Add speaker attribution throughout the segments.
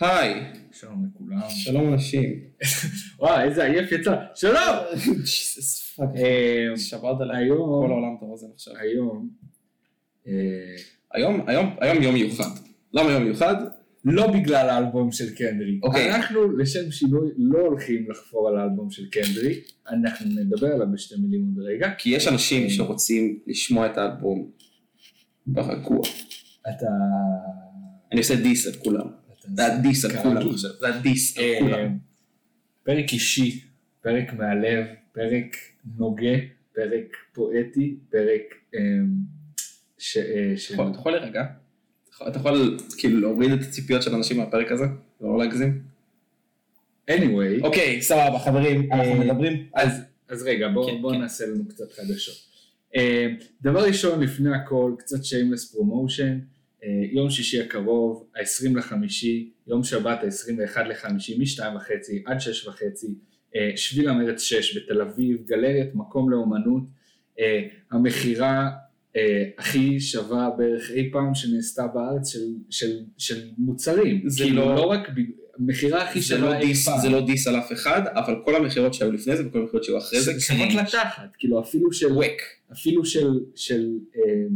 Speaker 1: היי,
Speaker 2: שלום לכולם.
Speaker 1: שלום אנשים.
Speaker 2: וואי, איזה עייף יצא. שלום!
Speaker 1: ג'יסוס פאק.
Speaker 2: אה,
Speaker 1: שברת עליי
Speaker 2: היום-
Speaker 1: כל העולם את האוזן עכשיו.
Speaker 2: היום, אה,
Speaker 1: היום, היום, היום יום מיוחד. למה יום מיוחד?
Speaker 2: לא בגלל האלבום של קנדרי.
Speaker 1: אוקיי.
Speaker 2: אנחנו לשם שינוי לא הולכים לחפור על האלבום של קנדרי, אנחנו נדבר עליו בשתי מילים עוד רגע.
Speaker 1: כי יש אנשים שרוצים לשמוע את האלבום ברגוע.
Speaker 2: אתה...
Speaker 1: אני עושה דיס על כולם.
Speaker 2: אתה-
Speaker 1: זה הדיס על כולם
Speaker 2: כרגיל.
Speaker 1: עכשיו. זה הדיס על
Speaker 2: אה,
Speaker 1: כולם.
Speaker 2: פרק אישי, פרק מהלב, פרק נוגה, פרק פואטי, פרק אה, ש... אה, ש-
Speaker 1: יכול- אתה יכול להירגע? אתה יכול- אתה יכול כאילו להוריד את הציפיות של אנשים מהפרק הזה? לא להגזים?
Speaker 2: anyway,
Speaker 1: אוקיי, סבבה חברים,
Speaker 2: אה,
Speaker 1: מדברים.
Speaker 2: אז, אז רגע, בואו
Speaker 1: כן,
Speaker 2: בוא
Speaker 1: כן.
Speaker 2: נעשה לנו קצת חדשות. אה, דבר ראשון, לפני הכל, קצת שיימלס פרומושן. אה, יום שישי הקרוב, ה-20 לחמישי, יום שבת ה-21 לחמישי, מ-2 וחצי עד 6 וחצי, אה, שביל המרץ 6 בתל אביב, גלריית מקום לאומנות. אה, המכירה אה, הכי שווה בערך אי פעם שנעשתה בארץ של, של, של מוצרים.
Speaker 1: זה
Speaker 2: כאילו,
Speaker 1: לא-
Speaker 2: לא רק... ב- המכירה הכי
Speaker 1: זה
Speaker 2: שווה
Speaker 1: לא
Speaker 2: אי
Speaker 1: דיס-
Speaker 2: פעם.
Speaker 1: זה לא דיס על אף אחד, אבל כל המכירות שהיו לפני זה וכל המכירות שהיו אחרי זה, כן.
Speaker 2: שוות לתחת, כאילו אפילו של,
Speaker 1: וואק.
Speaker 2: אפילו של, של אמ,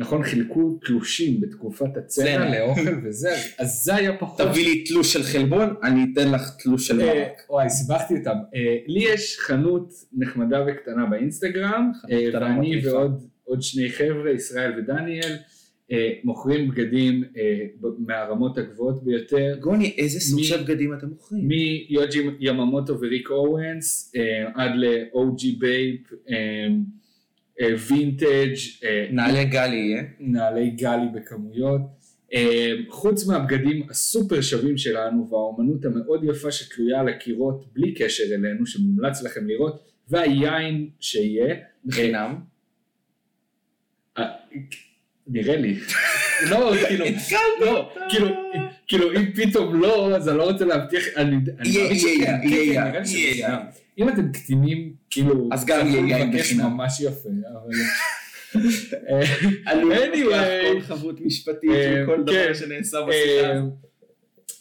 Speaker 2: נכון, חילקו תלושים בתקופת
Speaker 1: צנע.
Speaker 2: הצנע לאוכל וזה, אז- אז זה היה פחות.
Speaker 1: תביא לי תלוש של חלבון, אני אתן לך תלוש של
Speaker 2: אה,
Speaker 1: מרק.
Speaker 2: וואי, סיבכתי אותם. אה, לי יש חנות נחמדה וקטנה באינסטגרם,
Speaker 1: חנות
Speaker 2: אה,
Speaker 1: קטנה
Speaker 2: ואני
Speaker 1: מגניבה.
Speaker 2: ועוד עוד שני חבר'ה, ישראל ודניאל, אה, מוכרים בגדים אה, ב- מהרמות הגבוהות ביותר.
Speaker 1: גוני, איזה סוג
Speaker 2: מי-
Speaker 1: של בגדים אתם מוכרים?
Speaker 2: מיוג'י יממוטו וריק אורנס אה, עד ל-OG בייפ, אה, אה, וינטג', אה,
Speaker 1: נעלי גלי יהיה.
Speaker 2: נעלי גלי בכמויות. אה, חוץ מהבגדים הסופר שווים שלנו והאומנות המאוד יפה שתלויה על הקירות בלי קשר אלינו, שמומלץ לכם לראות, והיין שיהיה,
Speaker 1: בחינם.
Speaker 2: אה, נראה לי. לא,
Speaker 1: אה,
Speaker 2: כאילו, לא, כאילו, כאילו אם פתאום לא, אז אני לא רוצה להבטיח, אני אני
Speaker 1: יהיה,
Speaker 2: מאמין שכן,
Speaker 1: יהיה,
Speaker 2: כן,
Speaker 1: יהיה,
Speaker 2: כן, נראה לי
Speaker 1: יהיה,
Speaker 2: שבכלל.
Speaker 1: יהיה.
Speaker 2: אם אתם קטינים, כאילו,
Speaker 1: אז גם
Speaker 2: תצטרכו
Speaker 1: יהיה יין
Speaker 2: לבקש
Speaker 1: בחינם.
Speaker 2: ממש יפה, אבל... אה, anyway,
Speaker 1: חבות משפטית
Speaker 2: אה, כן,
Speaker 1: שנעשה
Speaker 2: אה,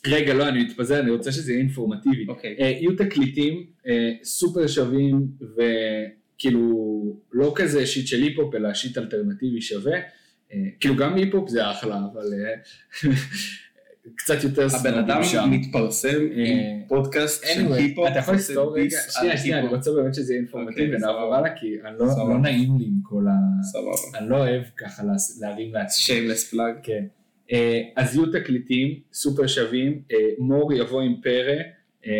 Speaker 2: רגע, לא, אני מתפזר, אני רוצה שזה יהיה אינפורמטיבי.
Speaker 1: אוקיי.
Speaker 2: אה, יהיו תקליטים אה, סופר שווים וכאילו לא כזה שיט של היפ-הופ אלא שיט אלטרנטיבי שווה. אה, כאילו גם היפ-הופ זה אחלה אבל אה, קצת יותר
Speaker 1: הבן אדם מתפרסם עם
Speaker 2: אה,
Speaker 1: פודקאסט של
Speaker 2: anyway,
Speaker 1: היפ-הופ.
Speaker 2: אתה יכול
Speaker 1: עושה
Speaker 2: לסתור רגע,
Speaker 1: דיס על
Speaker 2: שנייה שנייה, אני
Speaker 1: היפ-הופ.
Speaker 2: רוצה באמת שזה יהיה אינפורמטיבי
Speaker 1: אוקיי,
Speaker 2: ונעבור
Speaker 1: סבבה.
Speaker 2: הלאה כי אני לא-
Speaker 1: סבבה.
Speaker 2: לא נעים לי עם כל ה...
Speaker 1: סבבה.
Speaker 2: אני לא אוהב ככה להס- להרים לעצמי.
Speaker 1: שיימלס פלאג.
Speaker 2: כן. אה, אז יהיו תקליטים סופר שווים, אה, מור יבוא עם פרא, אה,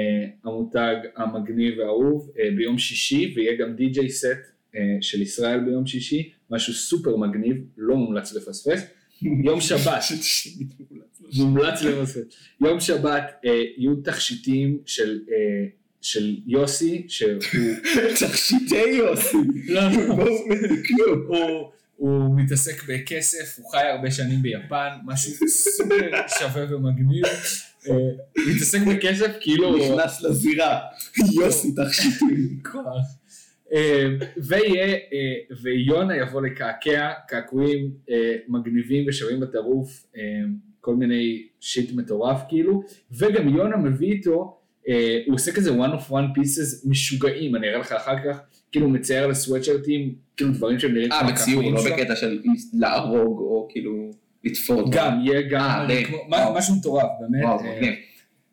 Speaker 2: המותג המגניב והאהוב, אה, ביום שישי, ויהיה גם די.ג'יי סט אה, של ישראל ביום שישי, משהו סופר מגניב, לא מומלץ לפספס. יום שבת, מומלץ למסורת. יום שבת אה, יהיו תכשיטים של, אה, של יוסי, שהוא...
Speaker 1: תכשיטי יוסי.
Speaker 2: לא,
Speaker 1: בואו תקנו.
Speaker 2: הוא, הוא מתעסק בכסף, הוא חי הרבה שנים ביפן, משהו סופר שווה ומגניב. אה, הוא מתעסק בכסף כאילו...
Speaker 1: נכנס לזירה.
Speaker 2: לא.
Speaker 1: יוסי תכשיטים.
Speaker 2: כוח. אה, ויהיה, אה, ויונה יבוא לקעקע, קעקועים אה, מגניבים ושווים בטירוף, אה, כל מיני שיט מטורף כאילו, וגם יונה מביא איתו, אה, הוא עושה כזה one of one pieces משוגעים, אני אראה לך אחר כך, כאילו הוא מצייר על הסוואטשרטים, כאילו דברים שהם נראים
Speaker 1: אה, בציור,
Speaker 2: הקעקועים
Speaker 1: לא
Speaker 2: שלו.
Speaker 1: בקטע של להרוג או כאילו לתפור.
Speaker 2: גם, יהיה
Speaker 1: אה,
Speaker 2: גם,
Speaker 1: די.
Speaker 2: כמו-
Speaker 1: וואו.
Speaker 2: מה- משהו מטורף, באמת.
Speaker 1: וואו,
Speaker 2: אה,
Speaker 1: מגניב.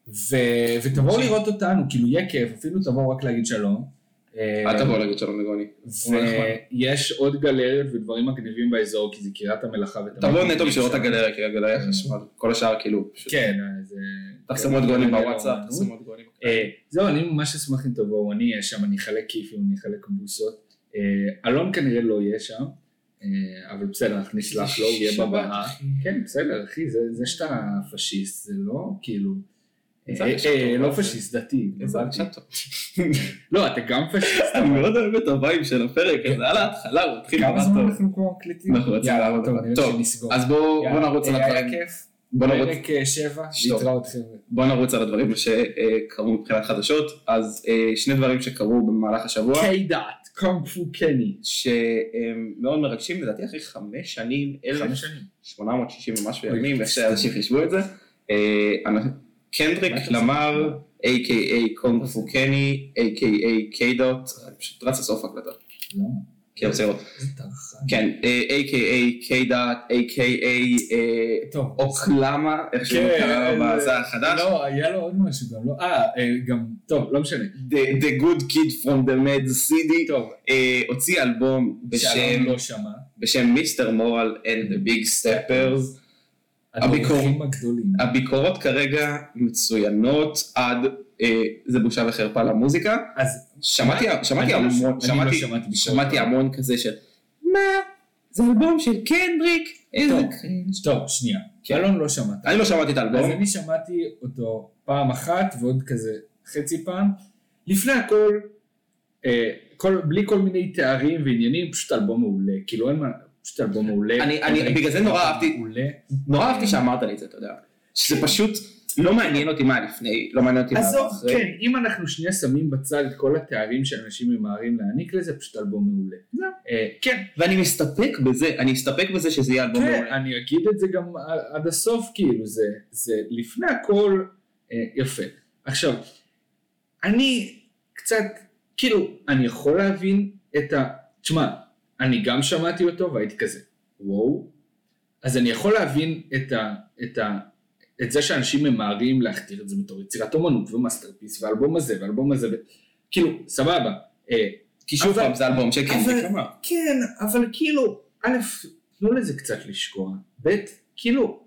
Speaker 2: ו- ותבואו לראות אותנו, כאילו יהיה כיף, אפילו תבואו רק להגיד שלום. אה,
Speaker 1: אל תבוא להגיד שלום לגוני. הוא נחמד.
Speaker 2: ויש עוד גלריות ודברים מגניבים באזור, כי זה קריית המלאכה. ותמיד
Speaker 1: תבוא
Speaker 2: מגניב
Speaker 1: לא נטו בשביל כן. לראות את
Speaker 2: שם.
Speaker 1: הגלריה, כי הגלריה חשמל. כל השאר כאילו... פשוט-
Speaker 2: כן, אה, זה... כן,
Speaker 1: תחסמו את גוני
Speaker 2: גלריה
Speaker 1: בוואטסאפ,
Speaker 2: לאומנות.
Speaker 1: תחסמו את גוני.
Speaker 2: אה, זהו, אני ממש אשמח אם תבואו, אני אהיה שם, אני אחלק כיפים, אני אחלק בוסות. אה, אלון כנראה לא יהיה שם, אה, אבל בסדר, אנחנו נשלח לו, הוא יהיה
Speaker 1: שבת,
Speaker 2: בבמה.
Speaker 1: אחי.
Speaker 2: כן, בסדר, אחי, זה זה שאתה פשיסט, זה לא כאילו...
Speaker 1: איזה
Speaker 2: אה,
Speaker 1: הרגשה
Speaker 2: אה,
Speaker 1: טובה
Speaker 2: לא
Speaker 1: זה.
Speaker 2: פשיסט, דתי.
Speaker 1: איזה
Speaker 2: הבנתי.
Speaker 1: הרגשה טובה.
Speaker 2: לא, אתה גם פשיסט.
Speaker 1: כן. אני מאוד אוהב את הוויים של הפרק הזה, על ההתחלה הוא התחיל
Speaker 2: כמה
Speaker 1: ממש
Speaker 2: זמן
Speaker 1: טוב.
Speaker 2: אנחנו כבר מקליטים?
Speaker 1: אנחנו רוצים לעבוד.
Speaker 2: טוב, נראה
Speaker 1: טוב,
Speaker 2: שנסגור.
Speaker 1: אז בואו
Speaker 2: יאללה,
Speaker 1: בואו נרוץ על
Speaker 2: אה, היה
Speaker 1: הדברים.
Speaker 2: כיף.
Speaker 1: בואו נרוץ
Speaker 2: פרק אה, שבע,
Speaker 1: שטוב.
Speaker 2: להתראות חבר'ה.
Speaker 1: בואו נרוץ על הדברים שקרו מבחינת חדשות. אז אה, שני דברים שקרו במהלך השבוע.
Speaker 2: קיי דאט, קונג פו קני.
Speaker 1: שהם מאוד מרגשים, לדעתי אחרי חמש שנים,
Speaker 2: חמש שנים.
Speaker 1: 1,860 ומשהו
Speaker 2: אוי,
Speaker 1: ימים, איך שאנשים חישבו את זה, אה, אנ- קנדריק
Speaker 2: מה אתה
Speaker 1: למר, A.K.A. קונג פו קני, A.K.A. קיי-דוט, אני פשוט רץ לסוף ההקלטה,
Speaker 2: למה?
Speaker 1: כי אני רוצה לראות.
Speaker 3: איזה טרחה.
Speaker 1: כן, אה, A.K.A. קיי-דוט, A.K.A. אה,
Speaker 3: טוב.
Speaker 1: אוקלמה, איך שהוא
Speaker 2: כן,
Speaker 1: קרא
Speaker 2: אה,
Speaker 1: בזה החדש.
Speaker 2: לא, היה לו עוד משהו גם, לא? אה, אה, גם, טוב, לא משנה.
Speaker 1: The, the good kid from the mad city,
Speaker 2: טוב,
Speaker 1: אה, הוציא אלבום בשם,
Speaker 2: שאלון לא שמע.
Speaker 1: בשם מיסטר מורל and the big steppers. הביקור. אה,
Speaker 2: הדורכים הגדולים.
Speaker 1: הביקורות כרגע מצוינות עד, אה, זה בושה וחרפה למוזיקה.
Speaker 2: אז
Speaker 1: שמעתי, שמעתי
Speaker 2: אני לא ש-
Speaker 1: המון,
Speaker 2: אני לא
Speaker 1: שמעתי,
Speaker 2: שמעתי ביקורת.
Speaker 1: שמעתי המון כזה של, מה? זה אלבום של קנדריק? איזה
Speaker 2: טוב.
Speaker 1: קרינג'."
Speaker 2: טוב, שנייה.
Speaker 1: כן.
Speaker 2: אלון לא שמעת.
Speaker 1: אני לא שמעתי את
Speaker 2: אז
Speaker 1: האלבום,
Speaker 2: אני שמעתי אותו פעם אחת ועוד כזה חצי פעם. לפני הכל, אה, כל, בלי כל מיני תארים ועניינים, פשוט אלבום מעולה. כאילו אין מה, פשוט אלבום מעולה.
Speaker 1: אני- אני-
Speaker 2: אלבום
Speaker 1: בגלל זה נורא אהבתי.
Speaker 2: מעולה.
Speaker 1: נורא לא אהבתי שאמרת לי את זה, אתה יודע. שזה פשוט לא מעניין אותי מה לפני, לא מעניין אותי מה
Speaker 2: עזוב,
Speaker 1: אחרי.
Speaker 2: כן, אם אנחנו שנייה שמים בצד את כל התארים שאנשים ממהרים להעניק לזה, פשוט אלבום מעולה.
Speaker 1: זהו.
Speaker 2: אה, כן,
Speaker 1: ואני מסתפק בזה, אני אסתפק בזה שזה יהיה אלבום
Speaker 2: כן,
Speaker 1: מעולה.
Speaker 2: אני אגיד את זה גם עד הסוף, כאילו, זה, זה לפני הכל אה, יפה. עכשיו, אני קצת, כאילו, אני יכול להבין את ה... תשמע, אני גם שמעתי אותו והייתי כזה, וואו. אז אני יכול להבין את, ה, את, ה, את זה שאנשים ממהרים להכתיר את זה בתור יצירת אומנות ומאסטרפיס ואלבום הזה ואלבום הזה, ו... כאילו, סבבה. אה,
Speaker 1: כי שוב
Speaker 2: אבל-
Speaker 1: פעם זה אלבום שכן,
Speaker 2: אבל-
Speaker 1: זה כמה.
Speaker 2: כן, אבל כאילו, א', תנו לזה קצת לשקוע, ב', כאילו,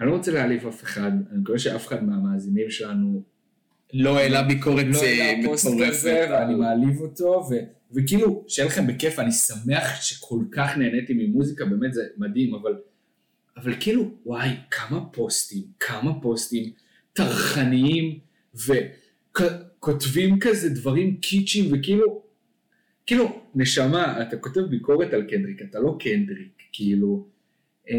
Speaker 2: אני לא רוצה להעליב אף אחד, אני מקווה שאף אחד מהמאזינים שלנו
Speaker 1: לא העלה ביקורת
Speaker 2: לא
Speaker 1: אה,
Speaker 2: העלה פוסט כזה,
Speaker 1: מטורפת.
Speaker 2: ואני מעליב אותו, ו- וכאילו, שיהיה לכם בכיף, אני שמח שכל כך נהניתי ממוזיקה, באמת זה מדהים, אבל, אבל כאילו, וואי, כמה פוסטים, כמה פוסטים טרחניים, וכותבים כזה דברים קיצ'ים, וכאילו, כאילו, נשמה, אתה כותב ביקורת על קנדריק, אתה לא קנדריק, כאילו, אמ,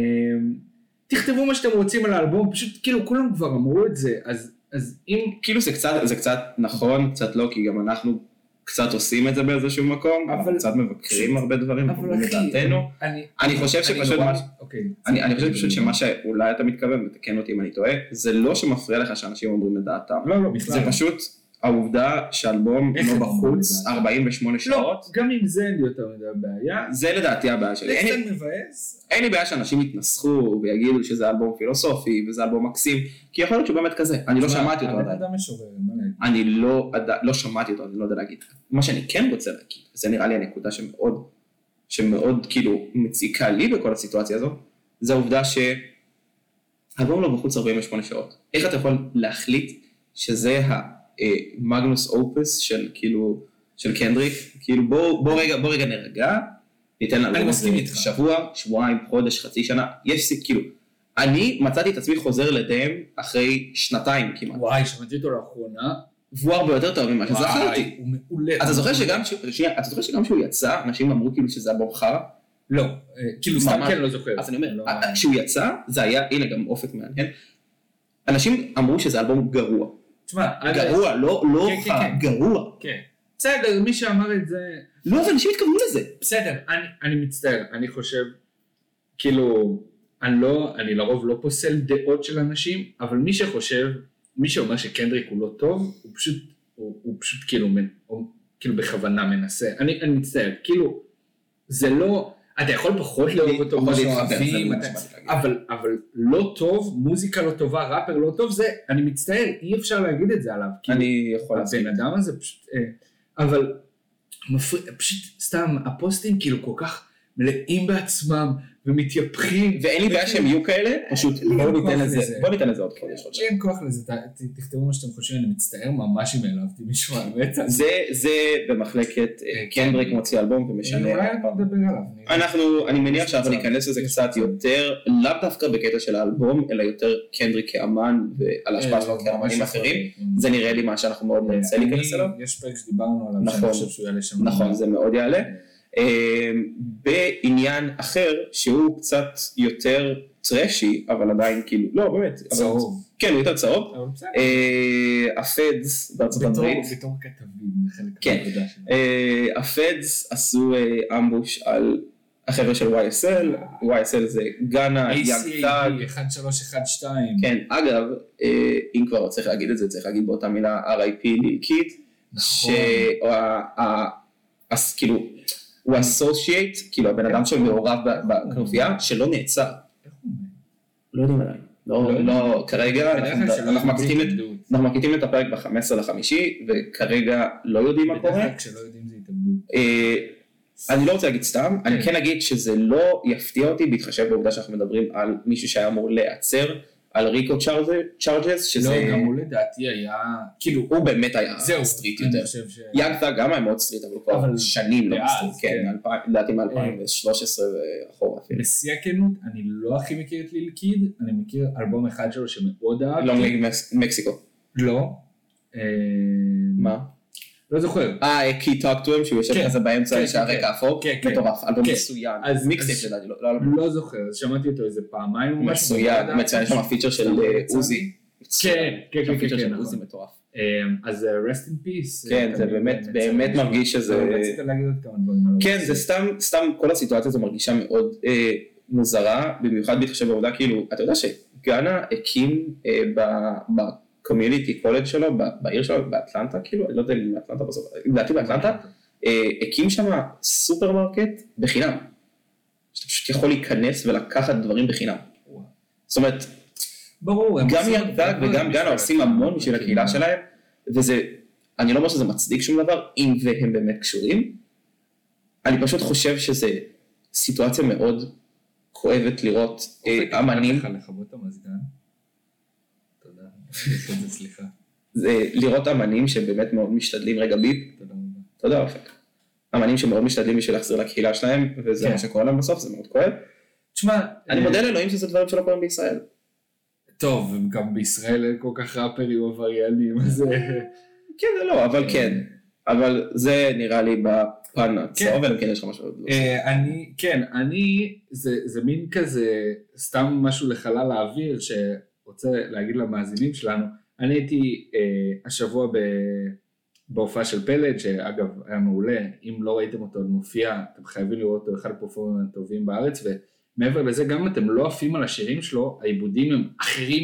Speaker 2: תכתבו מה שאתם רוצים על האלבום, פשוט כאילו כולם כבר אמרו את זה, אז, אז אם
Speaker 1: כאילו זה קצת, זה קצת נכון, קצת לא, כי גם אנחנו קצת עושים את זה באיזשהו מקום,
Speaker 2: אבל-
Speaker 1: אנחנו קצת מבקרים הרבה דברים,
Speaker 2: אבל
Speaker 1: אומרים את
Speaker 2: אחי,
Speaker 1: דעתנו.
Speaker 2: אני,
Speaker 1: אני חושב שפשוט,
Speaker 2: נורא-
Speaker 1: מה-
Speaker 2: אוקיי.
Speaker 1: אני אני חושב פשוט שמה שאולי אתה מתכוון, ותקן אותי אם אני טועה, זה לא שמפריע לך שאנשים אומרים את דעתם.
Speaker 2: לא, לא,
Speaker 1: זה
Speaker 2: בכלל.
Speaker 1: פשוט העובדה שאלבום
Speaker 2: איך
Speaker 1: לא
Speaker 2: הם אומרים את
Speaker 1: בחוץ
Speaker 2: דעתם?
Speaker 1: 48
Speaker 2: לא,
Speaker 1: שעות,
Speaker 2: גם עם זה אין לי יותר מדי בעיה.
Speaker 1: זה לדעתי הבעיה
Speaker 3: זה
Speaker 1: שלי. אין לי-
Speaker 3: קצת מבאס.
Speaker 1: אין לי בעיה שאנשים יתנסחו ויגידו שזה אלבום פילוסופי וזה אלבום מקסים, כי יכול להיות שהוא באמת כזה, אני לא
Speaker 2: תשמע,
Speaker 1: שמעתי אותו
Speaker 2: הבן
Speaker 1: עדיין.
Speaker 2: אדם משורר, מה אני
Speaker 1: אני
Speaker 2: אגיד?
Speaker 1: לא, עד- לא שמעתי אותו, אני לא יודע להגיד. מה שאני כן רוצה להגיד, וזה נראה לי הנקודה שמאוד, שמאוד כאילו מציקה לי בכל הסיטואציה הזו, זה העובדה שהאלבום לא בחוץ 48 שעות. איך אתה יכול להחליט שזה המגנוס אופוס של כאילו, של קנדריק? כאילו בוא, בוא רגע, בוא רגע נרגע, ניתן לאלבום הזה
Speaker 3: מסכים איתך.
Speaker 1: שבוע, שבועיים, חודש, חצי שנה, יש סי- כאילו, אני מצאתי את עצמי חוזר לדאם אחרי שנתיים כמעט.
Speaker 2: וואי, שמעתי אותו לאחרונה.
Speaker 1: והוא הרבה יותר טוב ממה שזכרתי.
Speaker 2: וואי, הוא מעולה.
Speaker 1: אתה זוכר שגם, ש- שנייה, אתה זוכר שגם כשהוא יצא, אנשים אמרו כאילו שזה אלבום חרא?
Speaker 2: לא, אה, כאילו סתם
Speaker 1: ממש.
Speaker 2: כן, לא זוכר.
Speaker 1: אז אני אומר, אה,
Speaker 2: לא-
Speaker 1: ה- כשהוא יצא, זה היה, הנה גם אופק מעניין, אנשים אמרו שזה אלבום גרוע.
Speaker 2: תשמע, א',
Speaker 1: גרוע, לא לא
Speaker 2: אה, כן, כן,
Speaker 1: חרא,
Speaker 2: כן.
Speaker 1: גרוע.
Speaker 2: כן. בסדר, מי שאמר את זה,
Speaker 1: לא, אבל אנשים התכוונו לזה.
Speaker 2: בסדר, אני, אני מצטער, אני חושב, כאילו, אני לא, אני לרוב לא פוסל דעות של אנשים, אבל מי שחושב, מי שאומר שקנדריק הוא לא טוב, הוא פשוט, הוא, הוא פשוט כאילו, מנ- הוא, כאילו בכוונה מנסה, אני, אני מצטער, כאילו, זה לא, אתה יכול פחות לאהוב אותו,
Speaker 1: פחות
Speaker 2: כמו
Speaker 1: להתחבר, זה
Speaker 2: שאוהבים,
Speaker 1: מה
Speaker 2: אתה-
Speaker 1: שבאתי להגיד.
Speaker 2: לא אבל, אבל לא טוב, מוזיקה לא טובה, ראפר לא טוב, זה, אני מצטער, אי אפשר להגיד את זה עליו, כאילו,
Speaker 1: אני יכול
Speaker 2: הבן
Speaker 1: להסכים.
Speaker 2: אדם הזה פשוט, אה, אבל מפריע, פשוט סתם הפוסטים כאילו כל כך מלאים בעצמם ומתייפחים.
Speaker 1: ואין לי בעיה שהם יהיו כאלה, פשוט
Speaker 2: לי
Speaker 1: בואו
Speaker 2: אין
Speaker 1: ניתן
Speaker 2: כוח
Speaker 1: לזה,
Speaker 2: לזה.
Speaker 1: בואו ניתן לזה עוד חודש. עוד שנה.
Speaker 3: אין כוח לזה, ת- ת- תכתבו מה שאתם חושבים, אני מצטער ממש אם העלבתי מישהו, האמת.
Speaker 2: כן.
Speaker 1: זה, זה במחלקת אה, קנדריק מוציא אלבום
Speaker 3: אולי
Speaker 1: ומשנה. עוד פעם.
Speaker 3: נדבר עליו. נראה.
Speaker 1: אה, נכון, אנחנו, אני מניח
Speaker 3: יש
Speaker 1: שאנחנו
Speaker 3: מצב,
Speaker 1: ניכנס לזה
Speaker 3: יש
Speaker 1: קצת
Speaker 3: מצב.
Speaker 1: יותר, לאו דווקא בקטע של האלבום, אלא יותר קנדריק כאמן ועל ההשפעה שלו
Speaker 3: אה,
Speaker 1: כאמנים
Speaker 3: ממש
Speaker 1: לא אחרים.
Speaker 3: יכול.
Speaker 1: זה נראה לי מה שאנחנו מאוד נרצה
Speaker 3: אני-
Speaker 1: להיכנס אליו.
Speaker 3: יש פרק שדיברנו עליו,
Speaker 1: נכון.
Speaker 3: שאני חושב שהוא יעלה שם.
Speaker 1: נכון, זה מאוד יעלה.
Speaker 3: אה,
Speaker 1: אה, בעניין אחר, שהוא קצת יותר טרשי, אבל עדיין כאילו, לא באמת, אבל-
Speaker 3: צהוב.
Speaker 1: כן, הוא יותר צהוב.
Speaker 3: אבל בסדר.
Speaker 1: אה, הפדס בארצות
Speaker 3: בתור-
Speaker 1: הברית,
Speaker 3: בתור כתבים, זה חלק
Speaker 1: כן.
Speaker 3: מהעבודה שלנו.
Speaker 1: אה, הפדס עשו אה, אמבוש על החבר'ה של YSL, YSL זה גאנה, אה, יאנג טאג,
Speaker 2: ACAB 1312.
Speaker 1: כן, אגב, אה, אם כבר צריך להגיד את זה, צריך להגיד באותה מילה RIP לילקית,
Speaker 2: נכון.
Speaker 1: שכאילו, כאילו, הוא אסושייט, כאילו הבן אדם שמעורב ב- בכנופיה, שלא נעצר.
Speaker 2: איך
Speaker 1: לא
Speaker 2: הוא אומר?
Speaker 1: יודעים עליי.
Speaker 4: לא
Speaker 1: לא,
Speaker 4: יודעים.
Speaker 1: לא, כרגע,
Speaker 4: בדרך
Speaker 1: אנחנו-
Speaker 4: כלל שלא
Speaker 1: אנחנו
Speaker 4: יודעים
Speaker 1: מקליטים את-
Speaker 4: התאבדות.
Speaker 1: אנחנו מקליטים את הפרק ב-15 לחמישי, וכרגע לא יודעים מה
Speaker 2: בדרך
Speaker 1: קורה.
Speaker 2: כלל כשלא יודעים זה התאבדות.
Speaker 1: אה, אני לא רוצה להגיד סתם, אני
Speaker 2: כן.
Speaker 1: כן אגיד שזה לא יפתיע אותי בהתחשב בעובדה שאנחנו מדברים על מישהו שהיה אמור להיעצר, על ריקו צ'ארג'ס- צ'ארג'ס,
Speaker 2: לא,
Speaker 1: שזה...
Speaker 2: גם הוא לדעתי היה...
Speaker 1: כאילו, הוא באמת היה
Speaker 2: זהו,
Speaker 1: סטריט
Speaker 2: אני
Speaker 1: יותר.
Speaker 2: חושב ש...
Speaker 1: יאנג תג גם היה מאוד סטריט, אבל הוא כבר
Speaker 2: אבל-
Speaker 1: שנים לא
Speaker 2: ואז,
Speaker 1: מסטריט, כן,
Speaker 2: כן.
Speaker 1: מאלפיים- לדעתי מ-2013 ואחורה אפילו.
Speaker 2: בשיא הכנות, אני לא הכי מכיר את ליל קיד, אני מכיר אלבום אחד שלו שמאוד אהבתי.
Speaker 1: לונג ליג מקס- מקסיקו.
Speaker 2: לא. אה,
Speaker 1: מה?
Speaker 2: לא זוכר.
Speaker 1: אה, כי טוק טו הם שהוא יושב
Speaker 2: כן,
Speaker 1: כזה באמצע,
Speaker 2: כן,
Speaker 1: יש הרקע
Speaker 2: כן,
Speaker 1: אפור,
Speaker 2: כן, כן.
Speaker 1: מטורף, אלבום
Speaker 2: כן.
Speaker 1: מצוין,
Speaker 2: אז-
Speaker 1: מיקסטייפ
Speaker 2: אז-
Speaker 1: לדעתי, לא, לא אלבום.
Speaker 2: לא זוכר, אז שמעתי אותו איזה פעמיים או משהו. לא
Speaker 1: מצוין,
Speaker 2: בוועדה.
Speaker 1: מצוין, יש שם הפיצ'ר של
Speaker 2: סתם
Speaker 1: אה,
Speaker 2: יצא.
Speaker 1: עוזי. מצוין.
Speaker 2: כן,
Speaker 1: יש שם
Speaker 2: כן,
Speaker 1: פיצ'ר
Speaker 2: כן,
Speaker 1: של
Speaker 2: נכון.
Speaker 1: עוזי מטורף.
Speaker 2: אה, אז אה, rest in peace.
Speaker 1: כן,
Speaker 2: אה,
Speaker 1: זה
Speaker 2: תמיד
Speaker 1: באמת, באמת
Speaker 2: מצחיק.
Speaker 1: מרגיש שזה...
Speaker 2: אבל רצית להגיד עוד כמה דברים. על
Speaker 1: כן,
Speaker 2: הרוסים.
Speaker 1: זה סתם, סתם כל הסיטואציה הזו מרגישה מאוד אה, מוזרה, במיוחד בהתחשב בעובדה, כאילו, אתה יודע שגאנה הקים אה, בקומיוניטי קולג' שלו, ב- בעיר שלו, באטלנטה, כאילו, אני לא יודע אם באטלנטה בסוף, לדעתי באטלנטה, אה, הקים שם סופרמרקט בחינם. שאתה פשוט יכול להיכנס ולקחת דברים בחינם.
Speaker 2: וואו.
Speaker 1: זאת אומרת,
Speaker 2: ברור, הם
Speaker 1: גם
Speaker 2: עושים
Speaker 1: ירדג
Speaker 2: הרבה
Speaker 1: וגם
Speaker 2: בשביל כן.
Speaker 1: גאנה עושים המון בשביל הקהילה שלהם, וזה, אני לא אומר שזה מצדיק שום דבר, אם והם באמת קשורים. אני פשוט חושב שזה סיטואציה מאוד כואבת לראות אה,
Speaker 2: אופק,
Speaker 1: אמנים,
Speaker 2: אני לך לכבות את המזגן. תודה. עשיתי את זה, סליחה.
Speaker 1: זה לראות אמנים שבאמת מאוד משתדלים, רגע ביפ,
Speaker 2: תודה רבה.
Speaker 1: תודה אופק. אמנים שמאוד משתדלים בשביל להחזיר לקהילה שלהם, וזה
Speaker 2: כן.
Speaker 1: מה שקורה להם בסוף, זה מאוד כואב.
Speaker 2: תשמע,
Speaker 1: אני
Speaker 2: אה,
Speaker 1: מודה לאלוהים שזה דברים שלא קורים בישראל.
Speaker 2: טוב, גם בישראל אין כל כך ראפרים עבריינים, אז... אה,
Speaker 1: כן ולא, אבל כן. אבל זה נראה לי בפן הצהוב, אלא אם כן יש לך משהו.
Speaker 4: אה,
Speaker 2: אני, כן, אני, זה, זה מין כזה, סתם משהו לחלל האוויר שרוצה להגיד למאזינים שלנו, אני הייתי אה, השבוע ב, בהופעה של פלד, שאגב היה מעולה, אם לא ראיתם אותו עוד מופיע, אתם חייבים לראות אותו, אחד הפרפורמרים הטובים בארץ, ומעבר לזה, גם אם אתם לא עפים על השירים שלו, העיבודים הם אחרים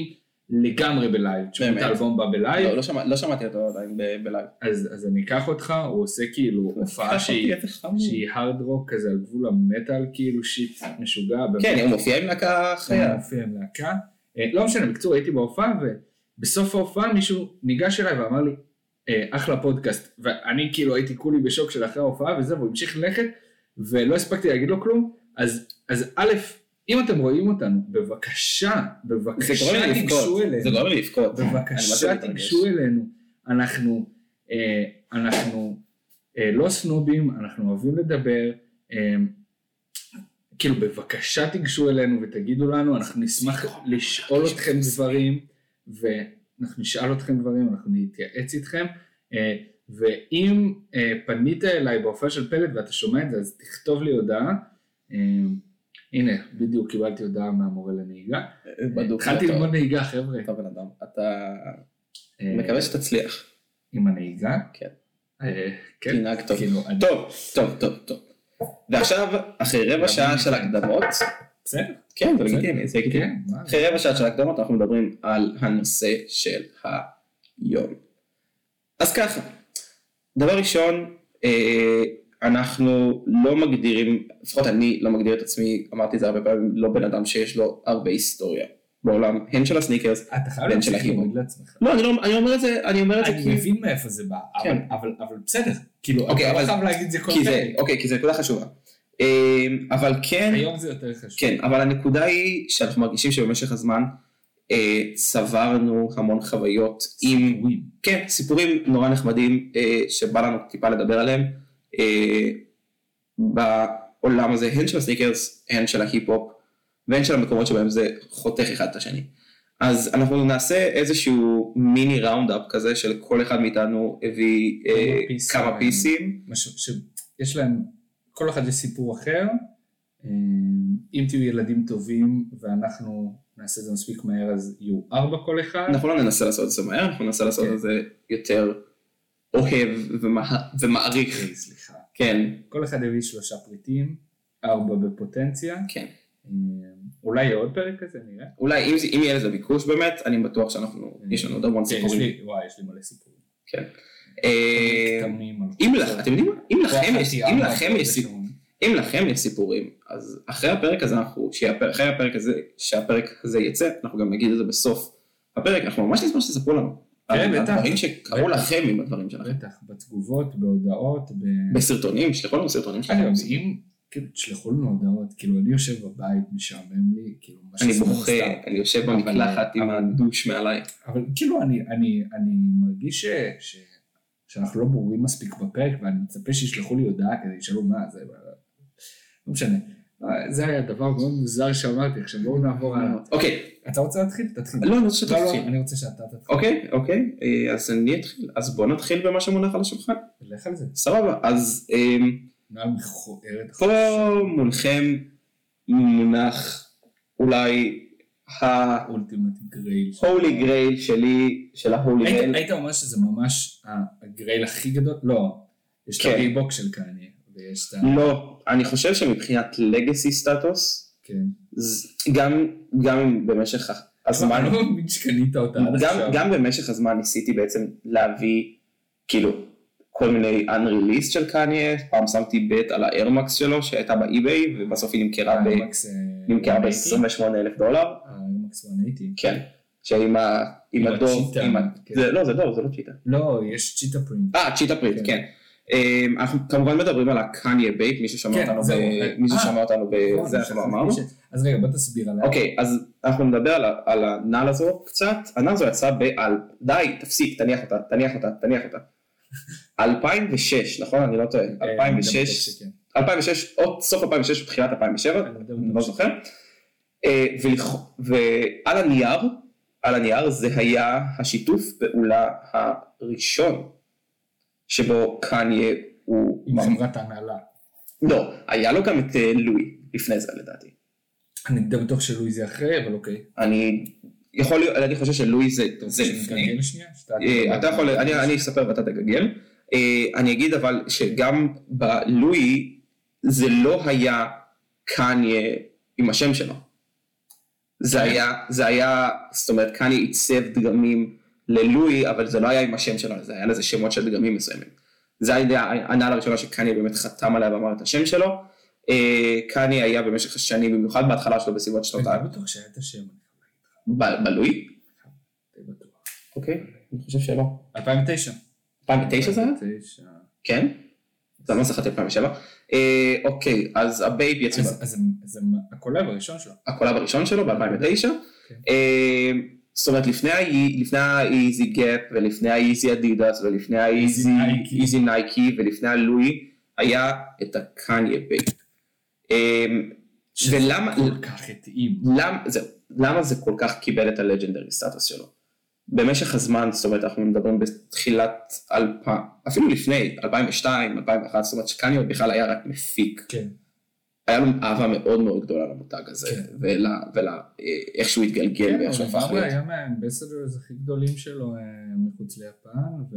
Speaker 2: לגמרי בלייב, תשמעו את
Speaker 1: באמת?
Speaker 2: האלבום בא בלייב,
Speaker 1: לא, לא, שמע, לא שמעתי אותו עדיין ב- בלייב.
Speaker 2: אז, אז אני אקח אותך, הוא עושה כאילו הופעה שהיא... שהיא הארד רוק כזה על גבול המטאל, כאילו שיט משוגע. באמת.
Speaker 1: כן, הוא מופיע עם להקה חיה.
Speaker 2: הוא מופיע עם להקה. אה, לא משנה, בקיצור הייתי בהופעה, ובסוף ההופעה מישהו ניגש אליי ואמר לי, "אה, אחלה פודקאסט. ואני כאילו הייתי כולי בשוק של אחרי ההופעה וזה, והוא המשיך ללכת, ולא הספקתי להגיד לו כלום. אז, אז א', אם אתם רואים אותנו, בבקשה,
Speaker 1: זה
Speaker 2: בבקשה
Speaker 1: גורם לי
Speaker 2: תיגשו
Speaker 1: לבכות.
Speaker 2: אלינו.
Speaker 1: זה גורם לי לבכות.
Speaker 2: בבקשה תיגשו אלינו. אנחנו, אה, אנחנו אה, לא סנובים, אנחנו אוהבים לדבר. אה, כאילו בבקשה תיגשו אלינו ותגידו לנו, אנחנו נשמח לשאול אתכם דברים, ואנחנו נשאל אתכם דברים, אנחנו נתייעץ איתכם. אה, ואם אה, פנית אליי בהופעה של פלט ואתה שומע את זה, אז תכתוב לי הודעה. אה, הנה, בדיוק קיבלתי הודעה מהמורה לנהיגה.
Speaker 1: בדוק.
Speaker 2: התחלתי ללמוד נהיגה, חבר'ה.
Speaker 1: אתה בן אדם. אתה
Speaker 2: אה,
Speaker 1: מקווה שתצליח.
Speaker 2: עם הנהיגה?
Speaker 1: כן.
Speaker 2: אה, כן.
Speaker 1: תנהג טוב.
Speaker 2: כאילו, אני-
Speaker 1: טוב, טוב, טוב, טוב. ועכשיו, אחרי רבע שעה של הקדמות,
Speaker 2: בסדר.
Speaker 1: כן, זה לגיטימי, זה לגיטימי.
Speaker 2: כן, מה?
Speaker 1: אחרי רבע שעה של הקדמות אנחנו מדברים על הנושא של היום. אז ככה, דבר ראשון, אה, אנחנו לא מגדירים, לפחות אני לא מגדיר את עצמי, אמרתי את זה הרבה פעמים, לא בן אדם שיש לו הרבה היסטוריה בעולם, הן של הסניקרס.
Speaker 2: אתה חייב
Speaker 1: בן של
Speaker 2: להמשיך
Speaker 1: הקיבוץ.
Speaker 2: להוריד לעצמך.
Speaker 1: לא, אני, לא, אני אומר את זה, אני אומר את זה
Speaker 2: אני
Speaker 1: כי,
Speaker 2: מבין מאיפה זה בא, אבל-
Speaker 1: כן.
Speaker 2: אבל- אבל בסדר. כאילו,
Speaker 1: אוקיי,
Speaker 2: אתה
Speaker 1: אבל-
Speaker 2: לא חייב להגיד את זה כל
Speaker 1: כי זה,
Speaker 2: פרק.
Speaker 1: אוקיי, כי זה נקודה חשובה. אה, אבל כן,
Speaker 2: היום זה יותר חשוב.
Speaker 1: כן, אבל הנקודה היא שאנחנו מרגישים שבמשך הזמן אה, צברנו המון חוויות עם
Speaker 2: סיפורים.
Speaker 1: כן, סיפורים נורא נחמדים אה, שבא לנו טיפה לדבר עליהם אה, בעולם הזה, הן של הסניקרס, הן של ההיפ-הופ והן של המקומות שבהם זה חותך אחד את השני. אז אנחנו נעשה איזשהו מיני ראונד-אפ כזה של כל אחד מאיתנו הביא אה,
Speaker 2: כמה פיסים.
Speaker 1: כמה פיסים.
Speaker 2: משהו שיש להם, כל אחד יש סיפור אחר. אה, אם תהיו ילדים טובים ואנחנו נעשה את זה מספיק מהר, אז יהיו ארבע כל אחד.
Speaker 1: אנחנו לא ננסה לעשות את זה מהר, אנחנו ננסה לעשות
Speaker 2: כן.
Speaker 1: את זה יותר אוהב ומה- ומעריך.
Speaker 2: אה, סליחה.
Speaker 1: כן,
Speaker 2: כל אחד הביא שלושה פריטים. ארבע בפוטנציה. אה,
Speaker 1: כן.
Speaker 2: אולי יהיה עוד פרק כזה, נראה.
Speaker 1: אולי אם, זה- אם יהיה לזה ביקוש באמת, אני בטוח שאנחנו, יש לנו עוד המון
Speaker 2: כן, יש
Speaker 1: סיפורים.
Speaker 2: לי- וואי, יש לי מלא סיפורים.
Speaker 1: כן. אה,
Speaker 2: כתמים על- לא,
Speaker 1: אם לך, אתם יודעים מה? אם לכם
Speaker 2: כוח
Speaker 1: יש-
Speaker 2: התיאם
Speaker 1: אם
Speaker 2: על
Speaker 1: לכם
Speaker 2: הכל
Speaker 1: יש סיפור-
Speaker 2: בשעון.
Speaker 1: אם לכם יש סיפורים, אז אחרי הפרק הזה אנחנו, שהפר- אחרי הפרק הזה, שהפרק הזה יצא, אנחנו גם נגיד את זה בסוף הפרק, אנחנו ממש נשמח שתספרו לנו.
Speaker 2: כן,
Speaker 1: על
Speaker 2: בטח.
Speaker 1: הדברים שקרו
Speaker 2: בטח.
Speaker 1: לכם עם הדברים שלכם.
Speaker 2: בטח, בתגובות, בהודעות, ב...
Speaker 1: בסרטונים, שלחו לנו סרטונים שלכם.
Speaker 2: אגב, אם, כאילו, תשלחו לנו הודעות, כאילו, אני יושב בבית, משעמם לי, כאילו, מה
Speaker 1: אני
Speaker 2: שזה סתם.
Speaker 1: בוכה, אני יושב
Speaker 2: אבל-
Speaker 1: במקלחת עם
Speaker 2: אבל-
Speaker 1: הדוש מעליי.
Speaker 2: אבל כאילו, אני, אני, אני מרגיש ש, ש, שאנחנו לא ברורים מספיק בפרק, ואני מצפה שישלחו לי הודעה כדי שישאלו מה זה, לא משנה. אה, זה היה דבר מאוד מוזר שאמרתי, עכשיו בואו נעבור הלאה.
Speaker 1: אוקיי,
Speaker 2: אתה רוצה להתחיל? תתחיל.
Speaker 1: לא, אני רוצה
Speaker 2: לא,
Speaker 1: שתתחיל.
Speaker 2: לא, אני רוצה שאתה תתחיל.
Speaker 1: אוקיי, אוקיי, אה, אז אני אתחיל. אז בוא נתחיל במה שמונח על השולחן.
Speaker 2: לך על זה.
Speaker 1: סבבה, אז אמ,
Speaker 2: נעל מכוערת.
Speaker 1: פה מולכם מונח אולי ה-holy
Speaker 2: אולטימט גרייל.
Speaker 1: grail שלי, של ה-holy
Speaker 2: היית-
Speaker 1: grail.
Speaker 2: היית אומר שזה ממש הגרייל הכי גדול? לא. יש את
Speaker 1: כן.
Speaker 2: הריבוק של קניה, ויש את ה...
Speaker 1: לא, אני חושב שמבחינת legacy סטטוס,
Speaker 2: כן.
Speaker 1: ז- גם גם אם במשך ה- הזמן,
Speaker 2: אני לא מאמין שקנית אותה עד
Speaker 1: גם-
Speaker 2: עכשיו.
Speaker 1: גם במשך הזמן ניסיתי בעצם להביא כאילו כל מיני unreleased של קניה, פעם שמתי בית על האיירמקס שלו שהייתה באי-ביי ובסוף היא נמכרה ב-
Speaker 2: האיירמקס, אה,
Speaker 1: נמכרה
Speaker 2: 180.
Speaker 1: ב-28 אלף דולר.
Speaker 2: האיירמקס 180.
Speaker 1: כן. שעם ה... עם
Speaker 2: עם
Speaker 1: הדוב,
Speaker 2: הצ'יטה,
Speaker 1: עם ה...
Speaker 2: כן.
Speaker 1: זה- לא זה דוב, זה לא צ'יטה.
Speaker 2: לא, יש צ'יטה פרינט.
Speaker 1: אה, צ'יטה פריט,
Speaker 2: כן.
Speaker 1: כן. אמ, אנחנו כמובן מדברים על הקניה בייט, מי ששמע
Speaker 2: כן,
Speaker 1: אותנו ב...
Speaker 2: זהו.
Speaker 1: מי
Speaker 2: אה,
Speaker 1: ששמע אותנו ב...
Speaker 2: נכון,
Speaker 1: זה
Speaker 2: שכחתי
Speaker 1: אנחנו אמרנו.
Speaker 2: ש- אז רגע, בוא תסביר אה, עליה.
Speaker 1: אוקיי, אז אנחנו נדבר על ה- על הנעל הזו קצת. הנעל הזו יצאה בעל... די, תפסיק, תניח אותה, תניח אותה, תניח אותה. 2006, נכון? אני לא טועה.
Speaker 2: אה,
Speaker 1: 2006,
Speaker 2: אני גם בטוח
Speaker 1: 2006, עוד סוף 2006 ותחילת 2007,
Speaker 2: שכן. אני גם
Speaker 1: אני לא
Speaker 2: בטוח
Speaker 1: זוכר.
Speaker 2: שכן.
Speaker 1: אה, ולכ- ועל הנייר, על הנייר זה היה השיתוף פעולה הראשון שבו קניה הוא...
Speaker 2: עם חברת ההנהלה.
Speaker 1: לא, היה לו גם את אה, לואי לפני זה לדעתי.
Speaker 2: אני גם בטוח שלואי זה אחרי, אבל אוקיי.
Speaker 1: אני יכול להיות, אני חושב שלואי זה, זה לפני.
Speaker 2: נגלגל שנייה? שאתה-
Speaker 1: אה, אתה יכול, אני, אני אספר ואתה תגגל. אה, אני אגיד אבל שגם בלואי זה לא היה קניה עם השם שלו. זה היה, זה היה, זאת אומרת קניה עיצב דגמים ללואי, אבל זה לא היה עם השם שלו, זה היה לזה שמות של דגמים מסוימים. זה היה הנעל הראשונה שקניה באמת חתם עליה ואמר את השם שלו. אה, קניה היה במשך השנים, במיוחד בהתחלה שלו בסביבות שנות ה...
Speaker 2: אני בטוח שהיה את השם.
Speaker 1: ב- בלואי?
Speaker 2: אני בטוח.
Speaker 1: אוקיי, אני חושב שלא.
Speaker 2: 2009.
Speaker 1: 2009 זה היה?
Speaker 2: 2009.
Speaker 1: כן. זה הנוסח עד 2007. אה, אוקיי, אז הבייב יצא
Speaker 2: אז- אז זה- זה הקולב הראשון שלו.
Speaker 1: הקולב הראשון שלו ב-2009. אה,
Speaker 2: כן.
Speaker 1: זאת אומרת, לפני ה- לפני האיזי גאפ ולפני האיזי אדידס ולפני האיזי
Speaker 2: נייקי.
Speaker 1: איזי נייקי ולפני הלואי, היה את הקניה בייב. אה,
Speaker 2: שזה
Speaker 1: ולמה-
Speaker 2: כל כך התאים.
Speaker 1: למ, זהו, למה זה כל כך קיבל את הלג'נדרי סטטוס שלו? במשך הזמן, זאת אומרת, אנחנו מדברים בתחילת אלפיים, אפילו לפני, 2002, 2001, זאת אומרת שקניה בכלל היה רק מפיק.
Speaker 2: כן.
Speaker 1: היה לו אהבה מאוד מאוד גדולה למותג הזה,
Speaker 2: כן.
Speaker 1: ול... ול... אה, איך שהוא התגלגל
Speaker 2: כן,
Speaker 1: ואיך שהוא
Speaker 2: הוא
Speaker 1: הפך
Speaker 2: לגמרי
Speaker 1: להיות.
Speaker 2: היה מהאמבסדורס הכי גדולים שלו אה, מחוץ ליפן, ו...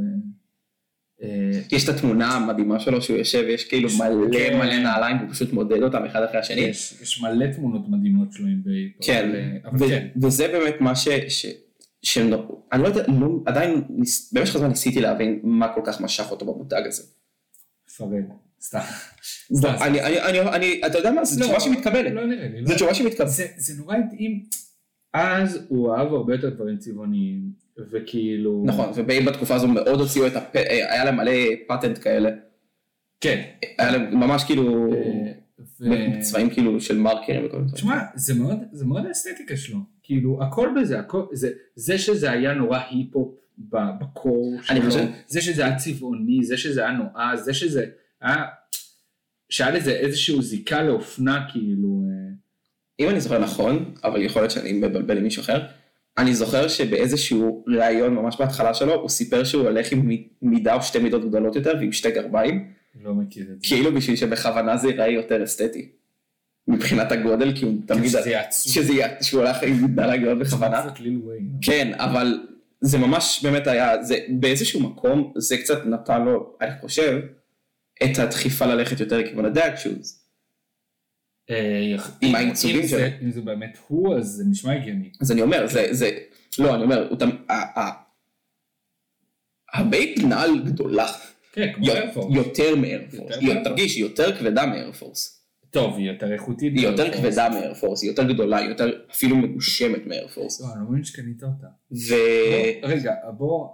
Speaker 2: אה,
Speaker 1: יש את התמונה המדהימה שלו שהוא יושב, יש כאילו
Speaker 2: יש-
Speaker 1: מלא
Speaker 2: כן.
Speaker 1: מלא נעליים, הוא פשוט מודד אותם אחד אחרי השני.
Speaker 2: יש יש מלא תמונות מדהימות שלו עם בייפ.
Speaker 1: כן,
Speaker 2: אבל, אה, אבל
Speaker 1: ו-
Speaker 2: כן.
Speaker 1: וזה באמת מה ש... ש... שהם לא, אני לא יודע, לא, עדיין, ניס- במשך הזמן ניסיתי להבין מה כל כך משך אותו במותג הזה.
Speaker 2: פרד. סתם.
Speaker 1: לא,
Speaker 2: סתם.
Speaker 1: אני, אני, אני, אני, אתה יודע מה, זו
Speaker 2: לא,
Speaker 1: תשובה שמתקבלת.
Speaker 2: לא נראה לי. לא.
Speaker 1: זו תשובה שמתקבלת.
Speaker 2: זה- זה נורא התאים. אז הוא אהב הרבה יותר דברים צבעוניים, וכאילו...
Speaker 1: נכון, ובאים בתקופה הזו מאוד הוציאו את הפ... אה, היה להם מלא פטנט כאלה.
Speaker 2: כן.
Speaker 1: היה להם ממש כאילו...
Speaker 2: אה, ו-
Speaker 1: אה, צבעים כאילו של מרקרים וכל מיני דברים.
Speaker 2: תשמע, זה מאוד, זה מאוד האסתטיקה שלו. כאילו, הכל בזה, הכל, זה, זה שזה היה נורא היפ-הופ ב- בקור שלו,
Speaker 1: אני חושב-
Speaker 2: זה שזה היה צבעוני, זה שזה היה נועז, זה שזה היה, שהיה לזה איזשהו זיקה לאופנה, כאילו, אה,
Speaker 1: אם אני זוכר נכון, אבל יכול להיות שאני מבלבל עם מישהו אחר, אני זוכר שבאיזשהו ראיון ממש בהתחלה שלו, הוא סיפר שהוא הולך עם מ- מידה או שתי מידות גדולות יותר ועם שתי גרביים,
Speaker 2: לא מכיר את זה.
Speaker 1: כאילו בשביל שבכוונה זה ייראה יותר אסתטי. מבחינת הגודל, כי הוא תמיד...
Speaker 2: כאילו שזה יעצוב.
Speaker 1: שזה יהיה, שהוא הלך עם מידה לגודל בכוונה.
Speaker 2: קצת ליל וויין.
Speaker 1: כן, אבל זה ממש באמת היה, זה באיזשהו מקום, זה קצת נתן לו, אני חושב, את הדחיפה ללכת יותר לכיוון הדאק שוז.
Speaker 2: אה,
Speaker 1: עם
Speaker 2: אם-
Speaker 1: העיצובים
Speaker 2: אם זה-
Speaker 1: שלו.
Speaker 2: אם זה באמת הוא, אז זה נשמע הגיוני.
Speaker 1: אז אני אומר, זה, זה, לא, אני אומר, הוא תמ- ה- ה- הבייפ נעל גדולה,
Speaker 2: כן, כמו
Speaker 1: י-
Speaker 2: איפה.
Speaker 1: יותר מאיירפורס,
Speaker 2: יותר
Speaker 1: היא-
Speaker 2: מאיירפורס.
Speaker 1: תרגיש, היא יותר כבדה מאיירפורס,
Speaker 2: טוב, היא יותר איכותית. אה,
Speaker 1: היא יותר
Speaker 2: מאיירפורס.
Speaker 1: כבדה מאיירפורס, היא יותר גדולה, היא יותר אפילו מגושמת מאיירפורס,
Speaker 2: לא, אני לא מבין שקנית אותה.
Speaker 1: ו... אה,
Speaker 2: בוא, רגע, בוא,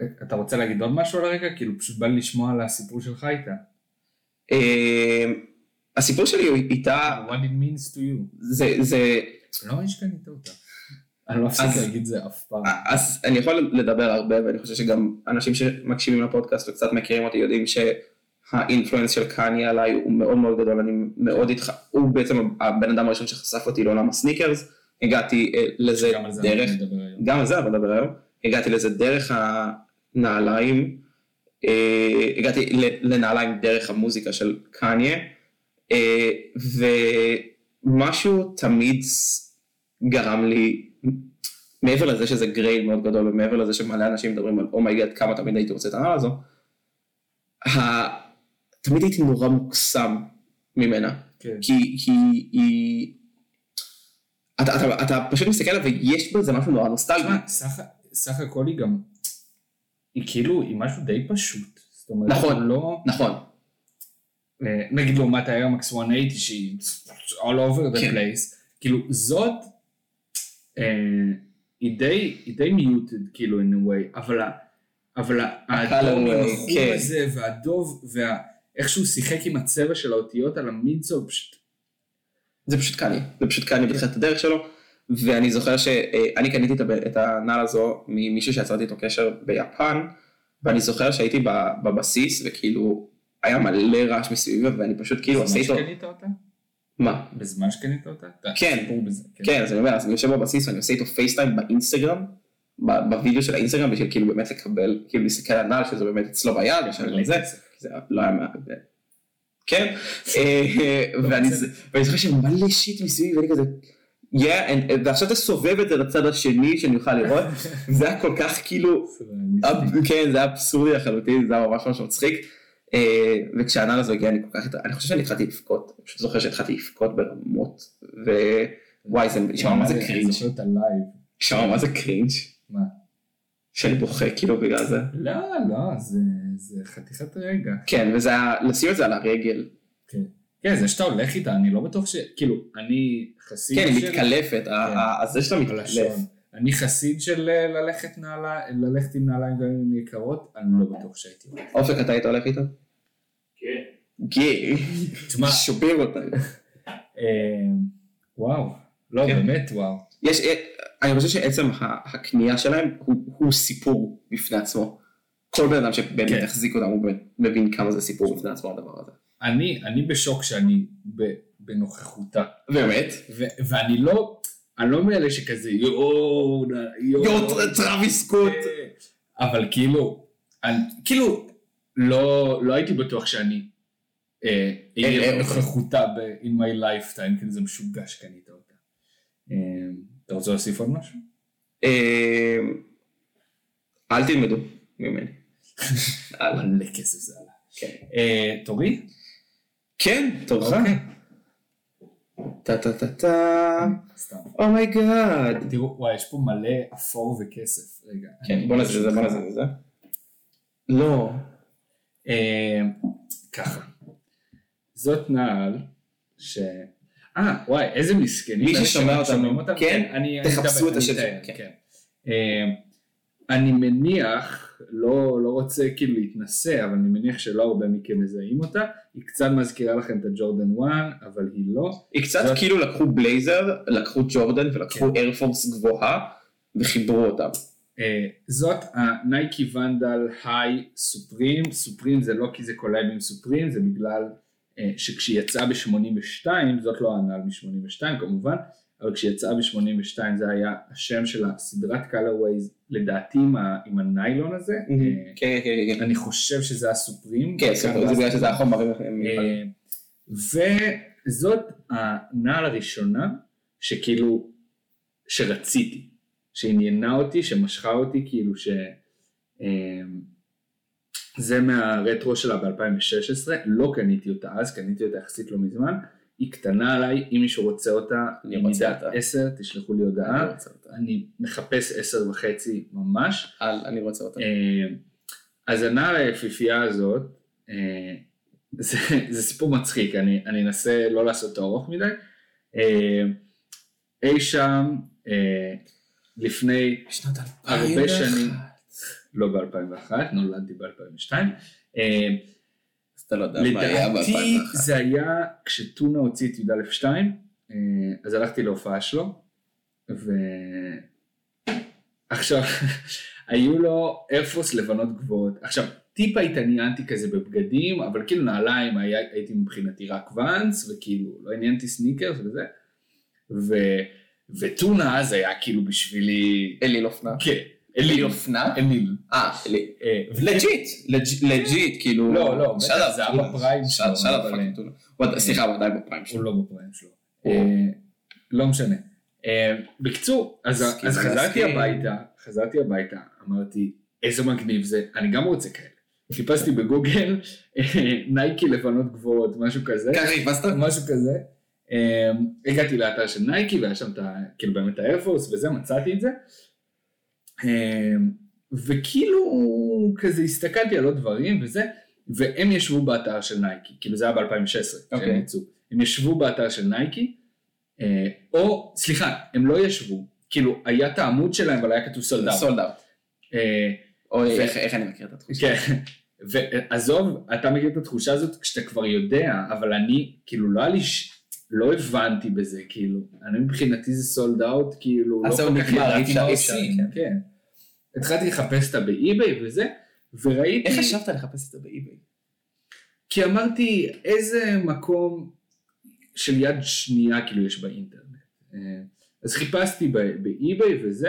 Speaker 2: אה, אתה רוצה להגיד עוד משהו על הרגע? כאילו פשוט בא לי לשמוע על הסיפור שלך איתה.
Speaker 1: אה, הסיפור שלי הוא איתה,
Speaker 2: What it means to you.
Speaker 1: זה, זה,
Speaker 2: אני לא מבין שקנית אותה. אני לא אפסיק
Speaker 1: אז- אה,
Speaker 2: להגיד זה אף פעם.
Speaker 1: אז אני יכול לדבר הרבה, ואני חושב שגם אנשים שמקשיבים לפודקאסט וקצת מכירים אותי יודעים שהאינפלואנס של קניה עליי הוא מאוד מאוד גדול, אני מאוד איתך, הוא בעצם הבן אדם הראשון שחשף אותי לעולם הסניקרס, הגעתי אה, לזה
Speaker 2: גם על זה
Speaker 1: דרך,
Speaker 2: אנחנו נדבר היום.
Speaker 1: גם על זה אבל נדבר היום, הגעתי לזה דרך הנעליים, אה, הגעתי ל- לנעליים דרך המוזיקה של קניה, אה, ומשהו תמיד ס- גרם לי, מעבר לזה שזה גרייל מאוד גדול, ומעבר לזה שמלא אנשים מדברים על אומייגד כמה תמיד הייתי רוצה את הנעל הזו, ה- תמיד הייתי נורא מוקסם ממנה.
Speaker 2: כן.
Speaker 1: כי, כי היא... אתה, אתה, אתה פשוט מסתכל עליו ויש בזה משהו נורא נוסטלגי.
Speaker 2: תשמע, סך- סך הכל היא גם, היא כאילו, היא משהו די פשוט. זאת אומרת,
Speaker 1: נכון.
Speaker 2: הוא לא...
Speaker 1: נכון,
Speaker 2: אה, נגיד לעומת האיירמקס 180 שהיא all over the
Speaker 1: כן.
Speaker 2: place, כאילו זאת אה, היא די, היא די מיוטד כאילו in a way, אבל, ה- אבל ה- האדום עם
Speaker 1: Colorway,
Speaker 2: החום
Speaker 1: כן.
Speaker 2: הזה והדוב ואיך שהוא שיחק עם הצבע של האותיות על המידסופ, פשוט
Speaker 1: זה פשוט קני, זה פשוט קני בתחילת הדרך שלו, ואני זוכר שאני קניתי את הב- את הנעל הזו ממישהו שיצרתי איתו קשר ביפן, ואני זוכר שהייתי ב- בבסיס וכאילו היה מלא רעש מסביבי ואני פשוט כאילו עושה
Speaker 2: בזמן
Speaker 1: איתו,
Speaker 2: שקנית אותה?
Speaker 1: מה?
Speaker 2: בזמן שקנית אותה? אתה-
Speaker 1: כן.
Speaker 2: סיפור בזה, כן.
Speaker 1: כן, אז אני אומר, אז אני יושב בבסיס ואני עושה איתו פייסטיים באינסטגרם, ב- בווידאו של האינסטגרם בשביל כאילו באמת לקבל, כאילו להסתכל על הנעל שזה באמת אצלו ביד, ושאני זה, זה לא היה מה... זה- כן, אה, ואני
Speaker 2: לא, בסדר.
Speaker 1: ואני זוכר שמלא שיט מסביבי, ואני כזה, yeah, and- אה, ועכשיו אתה סובב את זה לצד השני שאני אוכל לראות, זה היה כל כך כאילו,
Speaker 2: סוריאליסטי.
Speaker 1: אב- כן, זה היה אבסורדי לחלוטין, זה היה ממש ממש מצחיק, אה, וכשהנעל הזו הגיעה אני כל כך, אני חושב שאני התחלתי לבכות, אני פשוט זוכר שהתחלתי לבכות ברמות, ווואי, זה נשמע מה זה
Speaker 2: אני
Speaker 1: קרינג',
Speaker 2: זוכר את הלייב.
Speaker 1: נשמע מה זה קרינג',
Speaker 2: מה?
Speaker 1: שאני בוכה כאילו בגלל זה,
Speaker 2: לא, לא, זה, זה חתיכת רגע.
Speaker 1: כן, וזה היה, לשים את זה על הרגל,
Speaker 2: כן, זה שאתה הולך איתה, אני לא בטוח ש... כאילו, אני חסיד
Speaker 1: כן, היא
Speaker 2: של...
Speaker 1: מתקלפת, ה- ה- הזה שלה מתקלף.
Speaker 2: הלשון. אני חסיד של אה, ללכת, נעלה, ללכת עם נעליים גם אם הן יקרות, אני לא בטוח שהייתי הולך.
Speaker 1: אופק, אתה היית הולך איתו? כן. גיי.
Speaker 2: תשמע,
Speaker 1: שובר אותנו.
Speaker 2: אה, וואו, לא,
Speaker 1: כן.
Speaker 2: באמת וואו.
Speaker 1: יש, אה, אני חושב שעצם ה- הקנייה שלהם הוא, הוא סיפור בפני עצמו. כל בן אדם שבאמת
Speaker 2: כן.
Speaker 1: החזיק אותם, הוא באמת מבין כמה זה סיפור בפני עצמו הדבר הזה.
Speaker 2: אני, אני בשוק שאני ב, בנוכחותה,
Speaker 1: באמת?
Speaker 2: ו, ואני לא, אני לא מאלה שכזה יואו, נא-
Speaker 1: יו, טראביס סקוט.
Speaker 2: אבל כאילו, אני, כאילו, לא, לא הייתי בטוח שאני אה,
Speaker 1: אה,
Speaker 2: אהיה
Speaker 1: אה,
Speaker 2: נוכחותה ב- in my lifetime, כאילו זה משוגע שקנית אותה. אה, אתה רוצה להוסיף עוד משהו?
Speaker 1: אה, אל תלמדו ממני. אל.
Speaker 2: מלא כסף זה
Speaker 1: אה,
Speaker 2: עלה.
Speaker 1: לא. כן.
Speaker 2: אה, תורי?
Speaker 1: כן, תורך. טה טה טה טה. Oh
Speaker 2: סתם.
Speaker 1: אומייגאד.
Speaker 2: תראו, וואי, יש פה מלא אפור וכסף. רגע.
Speaker 1: כן, בוא נעשה את זה, בוא נעשה את זה. לא.
Speaker 2: אה, ככה. זאת נעל ש... אה, וואי, איזה מסכנים.
Speaker 1: מי
Speaker 2: אלה
Speaker 1: ששומע
Speaker 2: שלא
Speaker 1: אותנו,
Speaker 2: שומעים אותם,
Speaker 1: כן,
Speaker 2: אני- אני
Speaker 1: תחפשו
Speaker 2: אדבר,
Speaker 1: את
Speaker 2: אני
Speaker 1: השם
Speaker 2: אתאר,
Speaker 1: שלהם,
Speaker 2: כן. אה, אני מניח, לא לא רוצה כאילו להתנסה, אבל אני מניח שלא הרבה מכם מזהים אותה. היא קצת מזכירה לכם את הג'ורדן 1, אבל היא לא.
Speaker 1: היא קצת
Speaker 2: זאת-
Speaker 1: כאילו לקחו בלייזר, לקחו ג'ורדן ולקחו
Speaker 2: כן.
Speaker 1: איירפורס גבוהה וחיברו אותם.
Speaker 2: אה, זאת הנייקי ונדל היי סופרים, סופרים זה לא כי זה קולאב עם סופרים, זה בגלל אה, שכשהיא יצאה ב-82, זאת לא הנעל מ-82 כמובן, אבל כשהיא יצאה ב-82 זה היה השם של הסדרת קלרווייז, לדעתי עם, ה- עם הניילון הזה, אה,
Speaker 1: כן, כן, כן.
Speaker 2: אני חושב שזה הסופרים,
Speaker 1: כן, סופר, זה בגלל שזה החומרים. המיוחדים.
Speaker 2: אה, וזאת הנעל הראשונה שכאילו, שרציתי, שעניינה אותי, שמשכה אותי, כאילו ש... אה, זה מהרטרו שלה ב-2016, לא קניתי אותה אז, קניתי אותה יחסית לא מזמן, היא קטנה עליי, אם מישהו רוצה אותה,
Speaker 1: אני רוצה
Speaker 2: מידת
Speaker 1: אותה.
Speaker 2: 10, תשלחו לי
Speaker 1: אני
Speaker 2: הודעה.
Speaker 1: רוצה אותה.
Speaker 2: אה, אני מחפש 10 וחצי ממש.
Speaker 1: אל, אני רוצה אותה.
Speaker 2: אה, אז הנער היפיפייה הזאת, אה, זה, זה סיפור מצחיק, אני, אני אנסה לא לעשות אותו ארוך מדי. אה, אי שם, אה, לפני
Speaker 1: בשנת
Speaker 2: הרבה שנים, לא ב-2001, נולדתי אה, ב-2002,
Speaker 1: אז אתה לא יודע מה היה
Speaker 2: לדעתי
Speaker 1: ב-2001.
Speaker 2: זה היה כשטונה הוציא את י"א2, אה, אז הלכתי להופעה שלו, ועכשיו, היו לו איירפורס לבנות גבוהות. עכשיו, טיפה התעניינתי כזה בבגדים, אבל כאילו נעליים היה, הייתי מבחינתי רק ואנס, וכאילו לא עניינתי סניקרס וזה, ו, וטונה אז היה כאילו בשבילי,
Speaker 1: אליל אופנה.
Speaker 2: כן,
Speaker 1: אליל
Speaker 2: אליל,
Speaker 1: אופנה?
Speaker 2: אליל.
Speaker 1: אה, אליל.
Speaker 2: אה,
Speaker 1: לג'יט, לג'- לג'יט, כאילו.
Speaker 2: לא, לא,
Speaker 1: שאל
Speaker 2: בטח,
Speaker 1: עליו,
Speaker 2: זה היה
Speaker 1: טונה.
Speaker 2: בפריים
Speaker 1: שאל-
Speaker 2: שלו,
Speaker 1: שאל עליו
Speaker 2: אבל-
Speaker 1: פאקינג טונה. הוא עדיין- סליחה, הוא עדיין בפריים שלו.
Speaker 2: הוא לא בפריים שלו. אה, לא משנה. אה, בקיצור, אז
Speaker 1: מסכים,
Speaker 2: אז חזרתי
Speaker 1: מסכים.
Speaker 2: הביתה, חזרתי הביתה, אמרתי, איזה מגניב זה, אני גם רוצה כאלה. חיפשתי בגוגל, אה, נייקי לבנות גבוהות, משהו כזה.
Speaker 1: ככה חיפשת?
Speaker 2: משהו כזה. אה, הגעתי לאתר של נייקי והיה שם את ה... כאילו באמת האיירפורס וזה, מצאתי את זה. אה, וכאילו כזה הסתכלתי על עוד דברים וזה, והם ישבו באתר של נייקי, כאילו זה היה ב-2016,
Speaker 1: אוקיי.
Speaker 2: שהם יצאו. הם ישבו באתר של נייקי, אה, או, סליחה, הם לא ישבו, כאילו היה את העמוד שלהם אבל היה כתוב אה, סולדה.
Speaker 1: סולד אאוט.
Speaker 2: לא-
Speaker 1: אוי, איך- איך אני מכיר את התחושה.
Speaker 2: כן, ועזוב, אתה מכיר את התחושה הזאת כשאתה כבר יודע, אבל אני, כאילו, לא היה לי, ש... לא הבנתי בזה, כאילו, אני מבחינתי זה סולד אאוט, כאילו, לא
Speaker 1: אז זהו,
Speaker 2: כל כך
Speaker 1: נגמר, אי
Speaker 2: ידעתי
Speaker 1: אפשר,
Speaker 2: מה
Speaker 1: אי אפשר,
Speaker 2: עושים,
Speaker 1: כן.
Speaker 2: כן. התחלתי לחפש אותה באי-ביי וזה, וראיתי,
Speaker 1: איך חשבת לחפש את זה באיביי?
Speaker 2: כי אמרתי, איזה מקום של יד שנייה, כאילו, יש באינטרנט. אה, אז חיפשתי ב- באי-ביי וזה,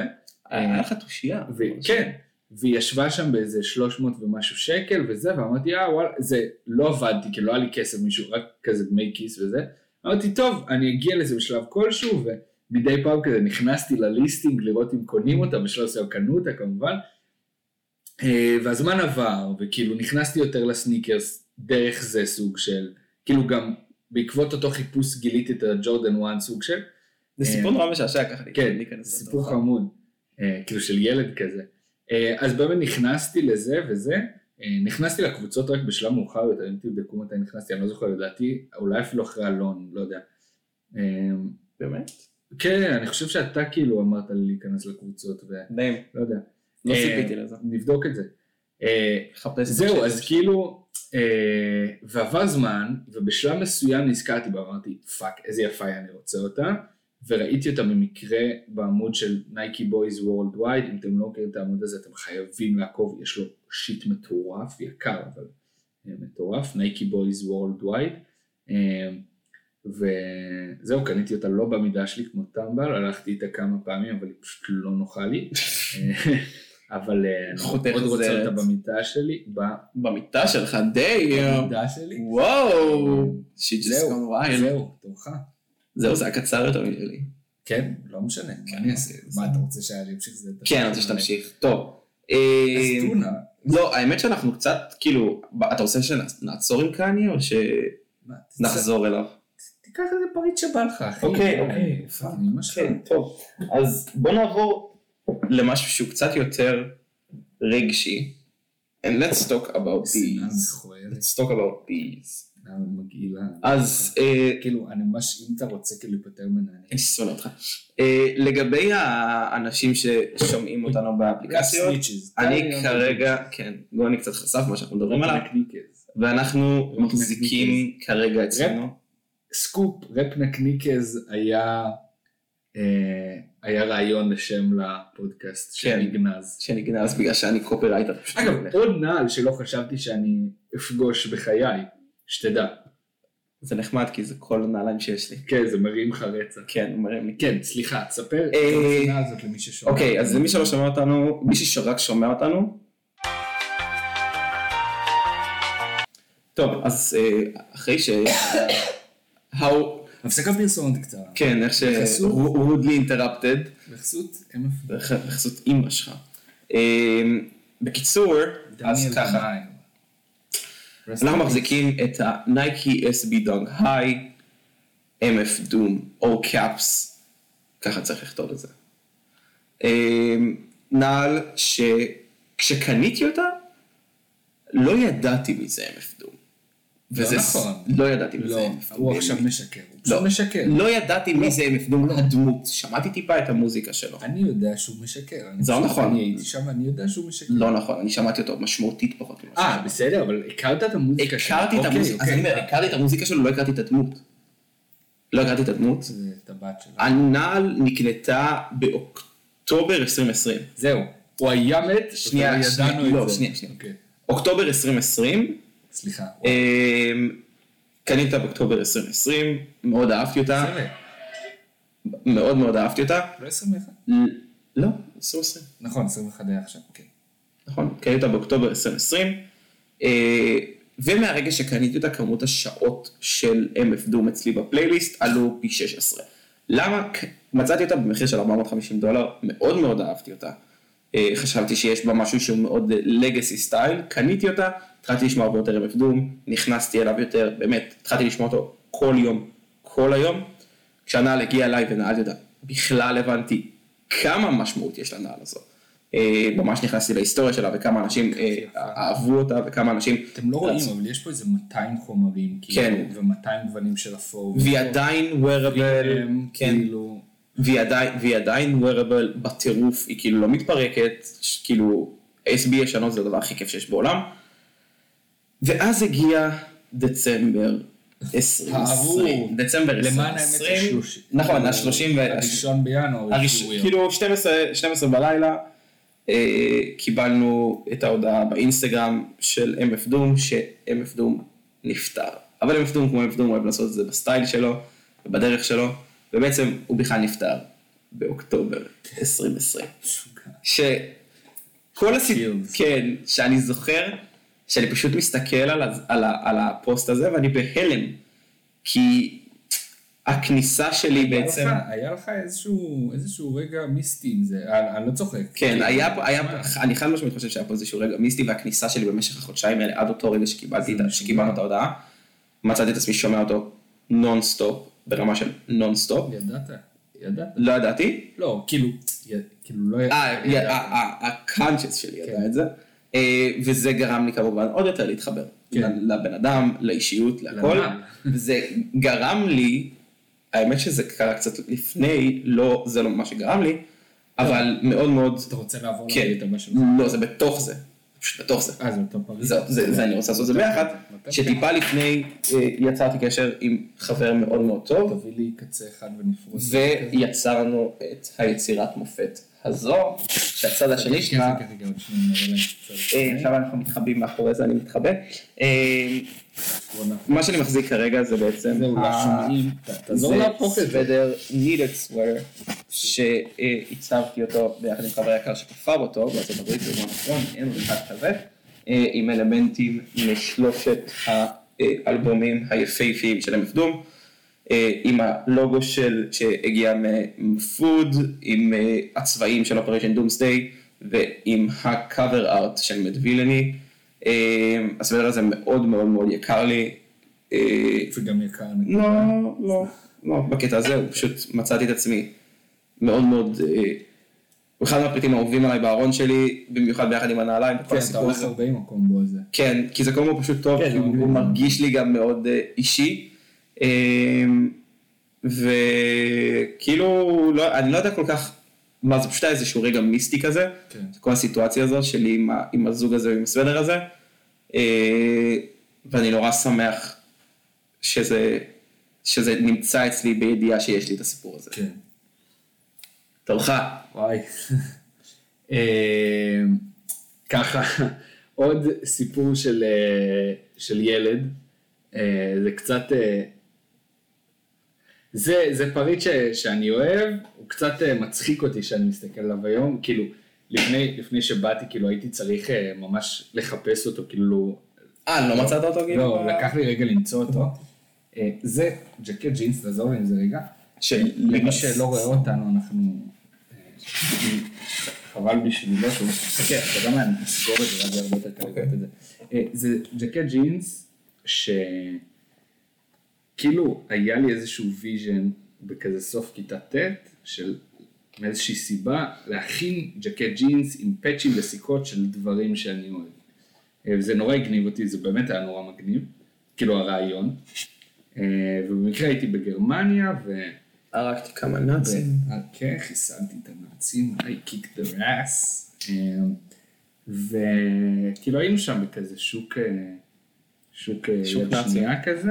Speaker 1: היה לך תושייה.
Speaker 2: ו- כן, והיא ישבה שם באיזה 300 ומשהו שקל וזה, ואמרתי, אה וואלה, זה לא עבדתי, כי לא היה לי כסף מישהו, רק כזה דמי כיס וזה. אמרתי, טוב, אני אגיע לזה בשלב כלשהו, ומדי פעם כזה נכנסתי לליסטינג לראות אם קונים אותה, בשלב מסוים קנו אותה כמובן. אה, והזמן עבר, וכאילו נכנסתי יותר לסניקרס דרך זה סוג של, כאילו גם בעקבות אותו חיפוש גיליתי את הג'ורדן 1 סוג של,
Speaker 1: זה סיפור נורא משעשע ככה.
Speaker 2: כן,
Speaker 1: להיכנס
Speaker 2: זה
Speaker 1: לתוך
Speaker 2: סיפור
Speaker 1: ה-
Speaker 2: חמוד, אה, כאילו של ילד כזה. אה, אז באמת נכנסתי לזה וזה, אה, נכנסתי לקבוצות רק בשלב מאוחר יותר, אם תבדקו מתי נכנסתי, אני לא זוכר, לדעתי, אולי אפילו אחרי אלון, לא יודע. אה,
Speaker 1: באמת?
Speaker 2: כן, אני חושב שאתה כאילו אמרת לי להיכנס לקבוצות, ולא
Speaker 1: מדהים.
Speaker 2: יודע,
Speaker 1: לא
Speaker 2: אה,
Speaker 1: ציפיתי לזה.
Speaker 2: נבדוק את זה. אה,
Speaker 1: חפש את
Speaker 2: זהו,
Speaker 1: זה.
Speaker 2: אז כאילו, אה, ועבר זמן, ובשלב מסוים נזכרתי בה, אמרתי, פאק, איזה יפה היא, אני רוצה אותה, וראיתי אותה במקרה בעמוד של נייקי בויז וורלד ווייד, אם אתם לא מכירים את העמוד הזה, אתם חייבים לעקוב, יש לו שיט מטורף, יקר, אבל אה, מטורף, נייקי בויז וורלד ווייד, אמ, וזהו, קניתי אותה לא במידה שלי כמו טמבל, הלכתי איתה כמה פעמים, אבל היא פשוט לא נוחה לי. אה, אבל אה, אני
Speaker 1: חותך
Speaker 2: מאוד רוצה
Speaker 1: זרת.
Speaker 2: אותה במיטה שלי, ב-
Speaker 1: במיטה שלך, דיום.
Speaker 2: במידה שלי.
Speaker 1: וואו. She just
Speaker 2: זהו,
Speaker 1: gone wild.
Speaker 2: זהו, תורך.
Speaker 1: זהו, זה היה קצר יותר נראה לי.
Speaker 2: כן, לא משנה, מה אני אעשה? מה אתה רוצה שאני אמשיך זה?
Speaker 1: כן, אני רוצה שתמשיך. טוב. אה,
Speaker 2: אז טונה,
Speaker 1: לא, האמת שאנחנו קצת, כאילו, ב- אתה רוצה שנעצור עם קני או שנחזור
Speaker 2: מה, תצא-
Speaker 1: אליו?
Speaker 2: תיקח איזה פריט שבא לך, אחי.
Speaker 1: אוקיי, אוקיי,
Speaker 2: אה, פאק, אמא שלך.
Speaker 1: כן, טוב. אז בוא נעבור למשהו שהוא קצת יותר רגשי. And let's talk about
Speaker 2: שנאה
Speaker 1: these.
Speaker 2: מכוערת,
Speaker 1: let's talk about these.
Speaker 2: שנאה מגעילה.
Speaker 1: אז אה,
Speaker 2: כאילו, אני ממש, אם אתה רוצה כאילו להיפטר ממנה, אני...
Speaker 1: אני שונא אותך. אה, לגבי האנשים ששומעים אותנו באפליקציות,
Speaker 2: סניצ'יז.
Speaker 1: אני כרגע, כן, גוני קצת חשף מה שאנחנו מדברים עליו,
Speaker 2: רפנקניקז.
Speaker 1: ואנחנו
Speaker 2: רפ
Speaker 1: מחזיקים כרגע אצלנו.
Speaker 2: סקופ, רפנקניקז היה... אה, היה רעיון לשם לפודקאסט
Speaker 1: כן.
Speaker 2: שנגנז.
Speaker 1: שנגנז בגלל שאני קופירייטר.
Speaker 2: אגב, עוד נעל שלא חשבתי שאני אפגוש בחיי, שתדע.
Speaker 1: זה נחמד כי זה כל הנעליים שיש לי.
Speaker 2: כן, זה מרים לך רצח.
Speaker 1: כן, הוא מרים לי.
Speaker 2: כן, סליחה, תספר את
Speaker 1: אה,
Speaker 2: המשימה הזאת למי ששומע.
Speaker 1: אוקיי, אז למי שלא שומע אותנו, מי שרק שומע אותנו. טוב, אז אה, אחרי ש... How...
Speaker 2: הפסקה פרסומת קצרה.
Speaker 1: כן, איך ש...
Speaker 2: בחסות?
Speaker 1: rudely interrupted.
Speaker 2: בחסות MF.
Speaker 1: בחסות אימא שלך. אה, בקיצור, אז
Speaker 2: דניאל
Speaker 1: ככה.
Speaker 2: קנאי.
Speaker 1: אנחנו מחזיקים את הנייקי SB דונג היי, MF Doom, או קאפס, ככה צריך לכתוב את זה. אמ, נעל שכשקניתי אותה, לא ידעתי מי זה MF Doom. וזה ס-
Speaker 3: נכון.
Speaker 1: לא ידעתי מי זה
Speaker 3: לא,
Speaker 1: MF Doom.
Speaker 3: הוא עכשיו
Speaker 1: באמת.
Speaker 3: משקר, הוא פשוט משקר.
Speaker 1: לא ידעתי מי זה MF Doom, לא הדמות. שמעתי טיפה את המוזיקה שלו.
Speaker 3: אני יודע שהוא משקר. אני
Speaker 1: זה לא
Speaker 3: פשוט-
Speaker 1: נכון.
Speaker 3: אני הייתי שם, אני יודע שהוא משקר.
Speaker 1: לא נכון, אני שמעתי אותו משמעותית פחות ממה
Speaker 2: אה, בסדר, אבל הכרת את המוזיקה שלו.
Speaker 1: הכרתי את
Speaker 2: אוקיי,
Speaker 1: המוזיקה, אז
Speaker 2: אוקיי.
Speaker 1: אני אומר,
Speaker 3: אה,
Speaker 1: הכרתי את המוזיקה שלו, לא הכרתי את הדמות. לא הכרתי את הדמות.
Speaker 3: זה את הבת שלו.
Speaker 1: אה, הנעל נקלטה באוקטובר 2020.
Speaker 2: זהו, הוא היה מת,
Speaker 3: אוקיי,
Speaker 1: שנייה,
Speaker 2: ולא
Speaker 1: שנייה,
Speaker 2: ידענו את
Speaker 1: לא,
Speaker 2: זה.
Speaker 1: שנייה, שנייה.
Speaker 2: אוקיי,
Speaker 1: אוקטובר 2020,
Speaker 3: סליחה.
Speaker 1: אמ, קנית באוקטובר 2020, מאוד אהבתי אותה,
Speaker 3: עשרים,
Speaker 1: מאוד מאוד אהבתי אותה.
Speaker 3: לא 21.
Speaker 1: ל- לא, 2020.
Speaker 3: נכון, 21 היה עכשיו, כן.
Speaker 1: נכון? קניתי אותה באוקטובר 2020, אה, ומהרגע שקניתי אותה, כמות השעות של MF דום אצלי בפלייליסט עלו פי 16. למה? כ- מצאתי אותה במחיר של 450 דולר, מאוד מאוד אהבתי אותה. אה, חשבתי שיש בה משהו שהוא מאוד לגאסי סטייל, קניתי אותה, התחלתי לשמוע הרבה יותר MF דום, נכנסתי אליו יותר, באמת, התחלתי לשמוע אותו כל יום, כל היום. כשהנעל הגיעה אליי ונעלתי אותה, בכלל הבנתי כמה משמעות יש לנעל הזו. אה, ממש נכנסתי להיסטוריה שלה וכמה אנשים אה, אהבו אותה וכמה אנשים...
Speaker 3: אתם לא רואים, אבל יש פה איזה 200 חומרים,
Speaker 1: כן.
Speaker 3: כאילו, ו-200 גוונים של אפור.
Speaker 1: והיא עדיין wearable,
Speaker 3: הם,
Speaker 1: כן,
Speaker 3: כאילו,
Speaker 1: והיא עדיין- והיא עדיין wearable בטירוף, היא כאילו לא מתפרקת, ש- כאילו SB ישנות זה הדבר הכי כיף שיש בעולם. ואז הגיע דצמבר 2020.
Speaker 3: הארור.
Speaker 1: דצמבר 2020.
Speaker 3: למען האמת, השלוש-
Speaker 1: נכון,
Speaker 3: כאילו,
Speaker 1: השלושים והשלושים.
Speaker 3: הראשון בינואר,
Speaker 1: הראש...
Speaker 3: אישורי.
Speaker 1: כאילו 12, 12 בלילה אה, קיבלנו את ההודעה באינסטגרם של MF דום, ש-MF דום נפטר. אבל MF דום כמו MF דום אוהב לעשות את זה בסטייל שלו ובדרך שלו, ובעצם הוא בכלל נפטר באוקטובר 2020. שכל הסיפור,
Speaker 3: Chills.
Speaker 1: כן, שאני זוכר, שאני פשוט מסתכל על, ה- על, ה- על הפוסט הזה ואני בהלם, כי הכניסה שלי
Speaker 2: לא
Speaker 3: היה
Speaker 1: בעצם...
Speaker 3: לך- היה לך איזשהו, איזשהו רגע מיסטי עם זה, אני, אני לא צוחק.
Speaker 1: כן,
Speaker 3: כאילו,
Speaker 1: היה פה, היה
Speaker 3: מה?
Speaker 1: פה, אני חד משמעית חושב שהיה פה איזשהו רגע מיסטי, והכניסה שלי במשך החודשיים האלה, עד אותו רגע שקיבלתי, את ה- שקיבלנו את ההודעה, מצאתי את עצמי שומע אותו נונסטופ, ברמה של נונסטופ,
Speaker 3: ידעת, ידעת.
Speaker 1: לא ידעתי,
Speaker 3: לא, כאילו, י, כאילו לא
Speaker 1: אה,
Speaker 3: ידעת.
Speaker 1: י- ה- ה- ה-conscious שלי
Speaker 3: כן.
Speaker 1: ידע את זה, אה, וזה גרם לי כמובן עוד יותר להתחבר,
Speaker 3: כן.
Speaker 1: ל- לבן אדם, לאישיות, להכל,
Speaker 3: לנעל.
Speaker 1: וזה גרם לי, האמת שזה קרה קצת לפני, לא, זה לא מה שגרם לי, אבל מאוד מאוד,
Speaker 3: אתה רוצה לעבור
Speaker 1: כן,
Speaker 3: לפריט הבא שלך?
Speaker 1: לא, זה בתוך זה, פשוט בתוך זה.
Speaker 3: אה, זה אותו פריט?
Speaker 1: זהו, זה, זה אני רוצה לעשות את זה ביחד,
Speaker 3: מתי
Speaker 1: שטיפה לפני אה, יצרתי קשר עם חבר מאוד מאוד טוב,
Speaker 3: תביא לי קצה אחד ונפרוס.
Speaker 1: ויצרנו את היצירת מופת הזו, שהצד השני
Speaker 3: רגע,
Speaker 1: שלה,
Speaker 3: רגע, רגע, עוד כן, שנייה, נראה להם קצת.
Speaker 1: אה, עכשיו אנחנו מתחבאים מאחורי זה, אני מתחבא. אה,
Speaker 3: בואנה.
Speaker 1: מה שאני מחזיק כרגע זה בעצם,
Speaker 3: זהו, לא
Speaker 1: ה-
Speaker 3: שומעים. ת- תעזור
Speaker 1: אה, זה
Speaker 3: לא להפוך את זה.
Speaker 1: סוודר needed sweater, שהצבתי אותו ביחד עם חבר יקר שכפר אותו בארצות הברית, זה מאוד נכון, אין לו אחד כזה, אה, עם אלמנטים משלושת האלבומים היפהפיים של MF דום, אה, עם הלוגו של, שהגיע מפוד, עם אה, הצבעים של Operation Doomsday, ועם הקאבר ארט של מד וילני. אה, הסוודר הזה מאוד מאוד מאוד יקר לי. אה,
Speaker 3: וגם יקר.
Speaker 1: לא, לא, לא, בקטע הזה, הוא פשוט מצאתי את עצמי מאוד מאוד, אה, הוא אחד מהפריטים האהובים עליי בארון שלי, במיוחד ביחד עם הנעליים,
Speaker 3: כן,
Speaker 1: וכל
Speaker 3: אתה
Speaker 1: הסיפור
Speaker 3: הולך
Speaker 1: הזה.
Speaker 3: הרבה עם הקומבו הזה.
Speaker 1: כן, כי זה קומו פשוט טוב,
Speaker 3: כן,
Speaker 1: כי הוא
Speaker 3: אוקיי.
Speaker 1: הוא מרגיש לי גם מאוד אה, אישי. אה, וכאילו, לא- אני לא יודע כל כך מה זה, פשוט היה איזשהו רגע מיסטי כזה,
Speaker 3: כן.
Speaker 1: כל הסיטואציה הזו שלי עם ה- עם הזוג הזה ועם הסוודר הזה, אה, ואני נורא שמח שזה, שזה נמצא אצלי בידיעה שיש לי את הסיפור הזה.
Speaker 3: כן.
Speaker 1: תורך.
Speaker 2: וואי. אה, ככה, עוד סיפור של, אה, של ילד, אה, זה קצת... אה, זה, זה פריט ש, שאני אוהב, הוא קצת אה, מצחיק אותי שאני מסתכל עליו היום, כאילו, לפני, לפני שבאתי, כאילו, הייתי צריך אה, ממש לחפש אותו, כאילו,
Speaker 1: אה, לא מצאת אותו כאילו?
Speaker 2: לא,
Speaker 1: ב-
Speaker 2: לקח לי רגע למצוא אותו. אה, זה ג'קט ג'ינס, תעזור לי עם זה רגע.
Speaker 1: של-
Speaker 2: למי שלא רואה אותנו, אנחנו... אה, חבל בשבילו שהוא... חכה, אתה יודע מה, אני אסגור את זה, ואז יהיה הרבה יותר קל לראות את זה. אה, זה ג'קט ג'ינס, ש... כאילו היה לי איזשהו ויז'ן בכזה סוף כיתה ט' של מאיזושהי סיבה להכין ג'קט ג'ינס עם פאצ'ים וסיכות של דברים שאני אוהב. אה, וזה נורא הגניב אותי, זה באמת היה נורא מגניב, כאילו הרעיון. אה, ובמקרה הייתי בגרמניה ו...
Speaker 1: הרגתי כמה נאצים.
Speaker 2: כן, חיסלתי את הנאצים, I kicked their ass. אמ, וכאילו היינו שם בכזה שוק, אה, שוק אה,
Speaker 1: שוק
Speaker 2: יד
Speaker 1: נאצי.
Speaker 2: שנייה כזה,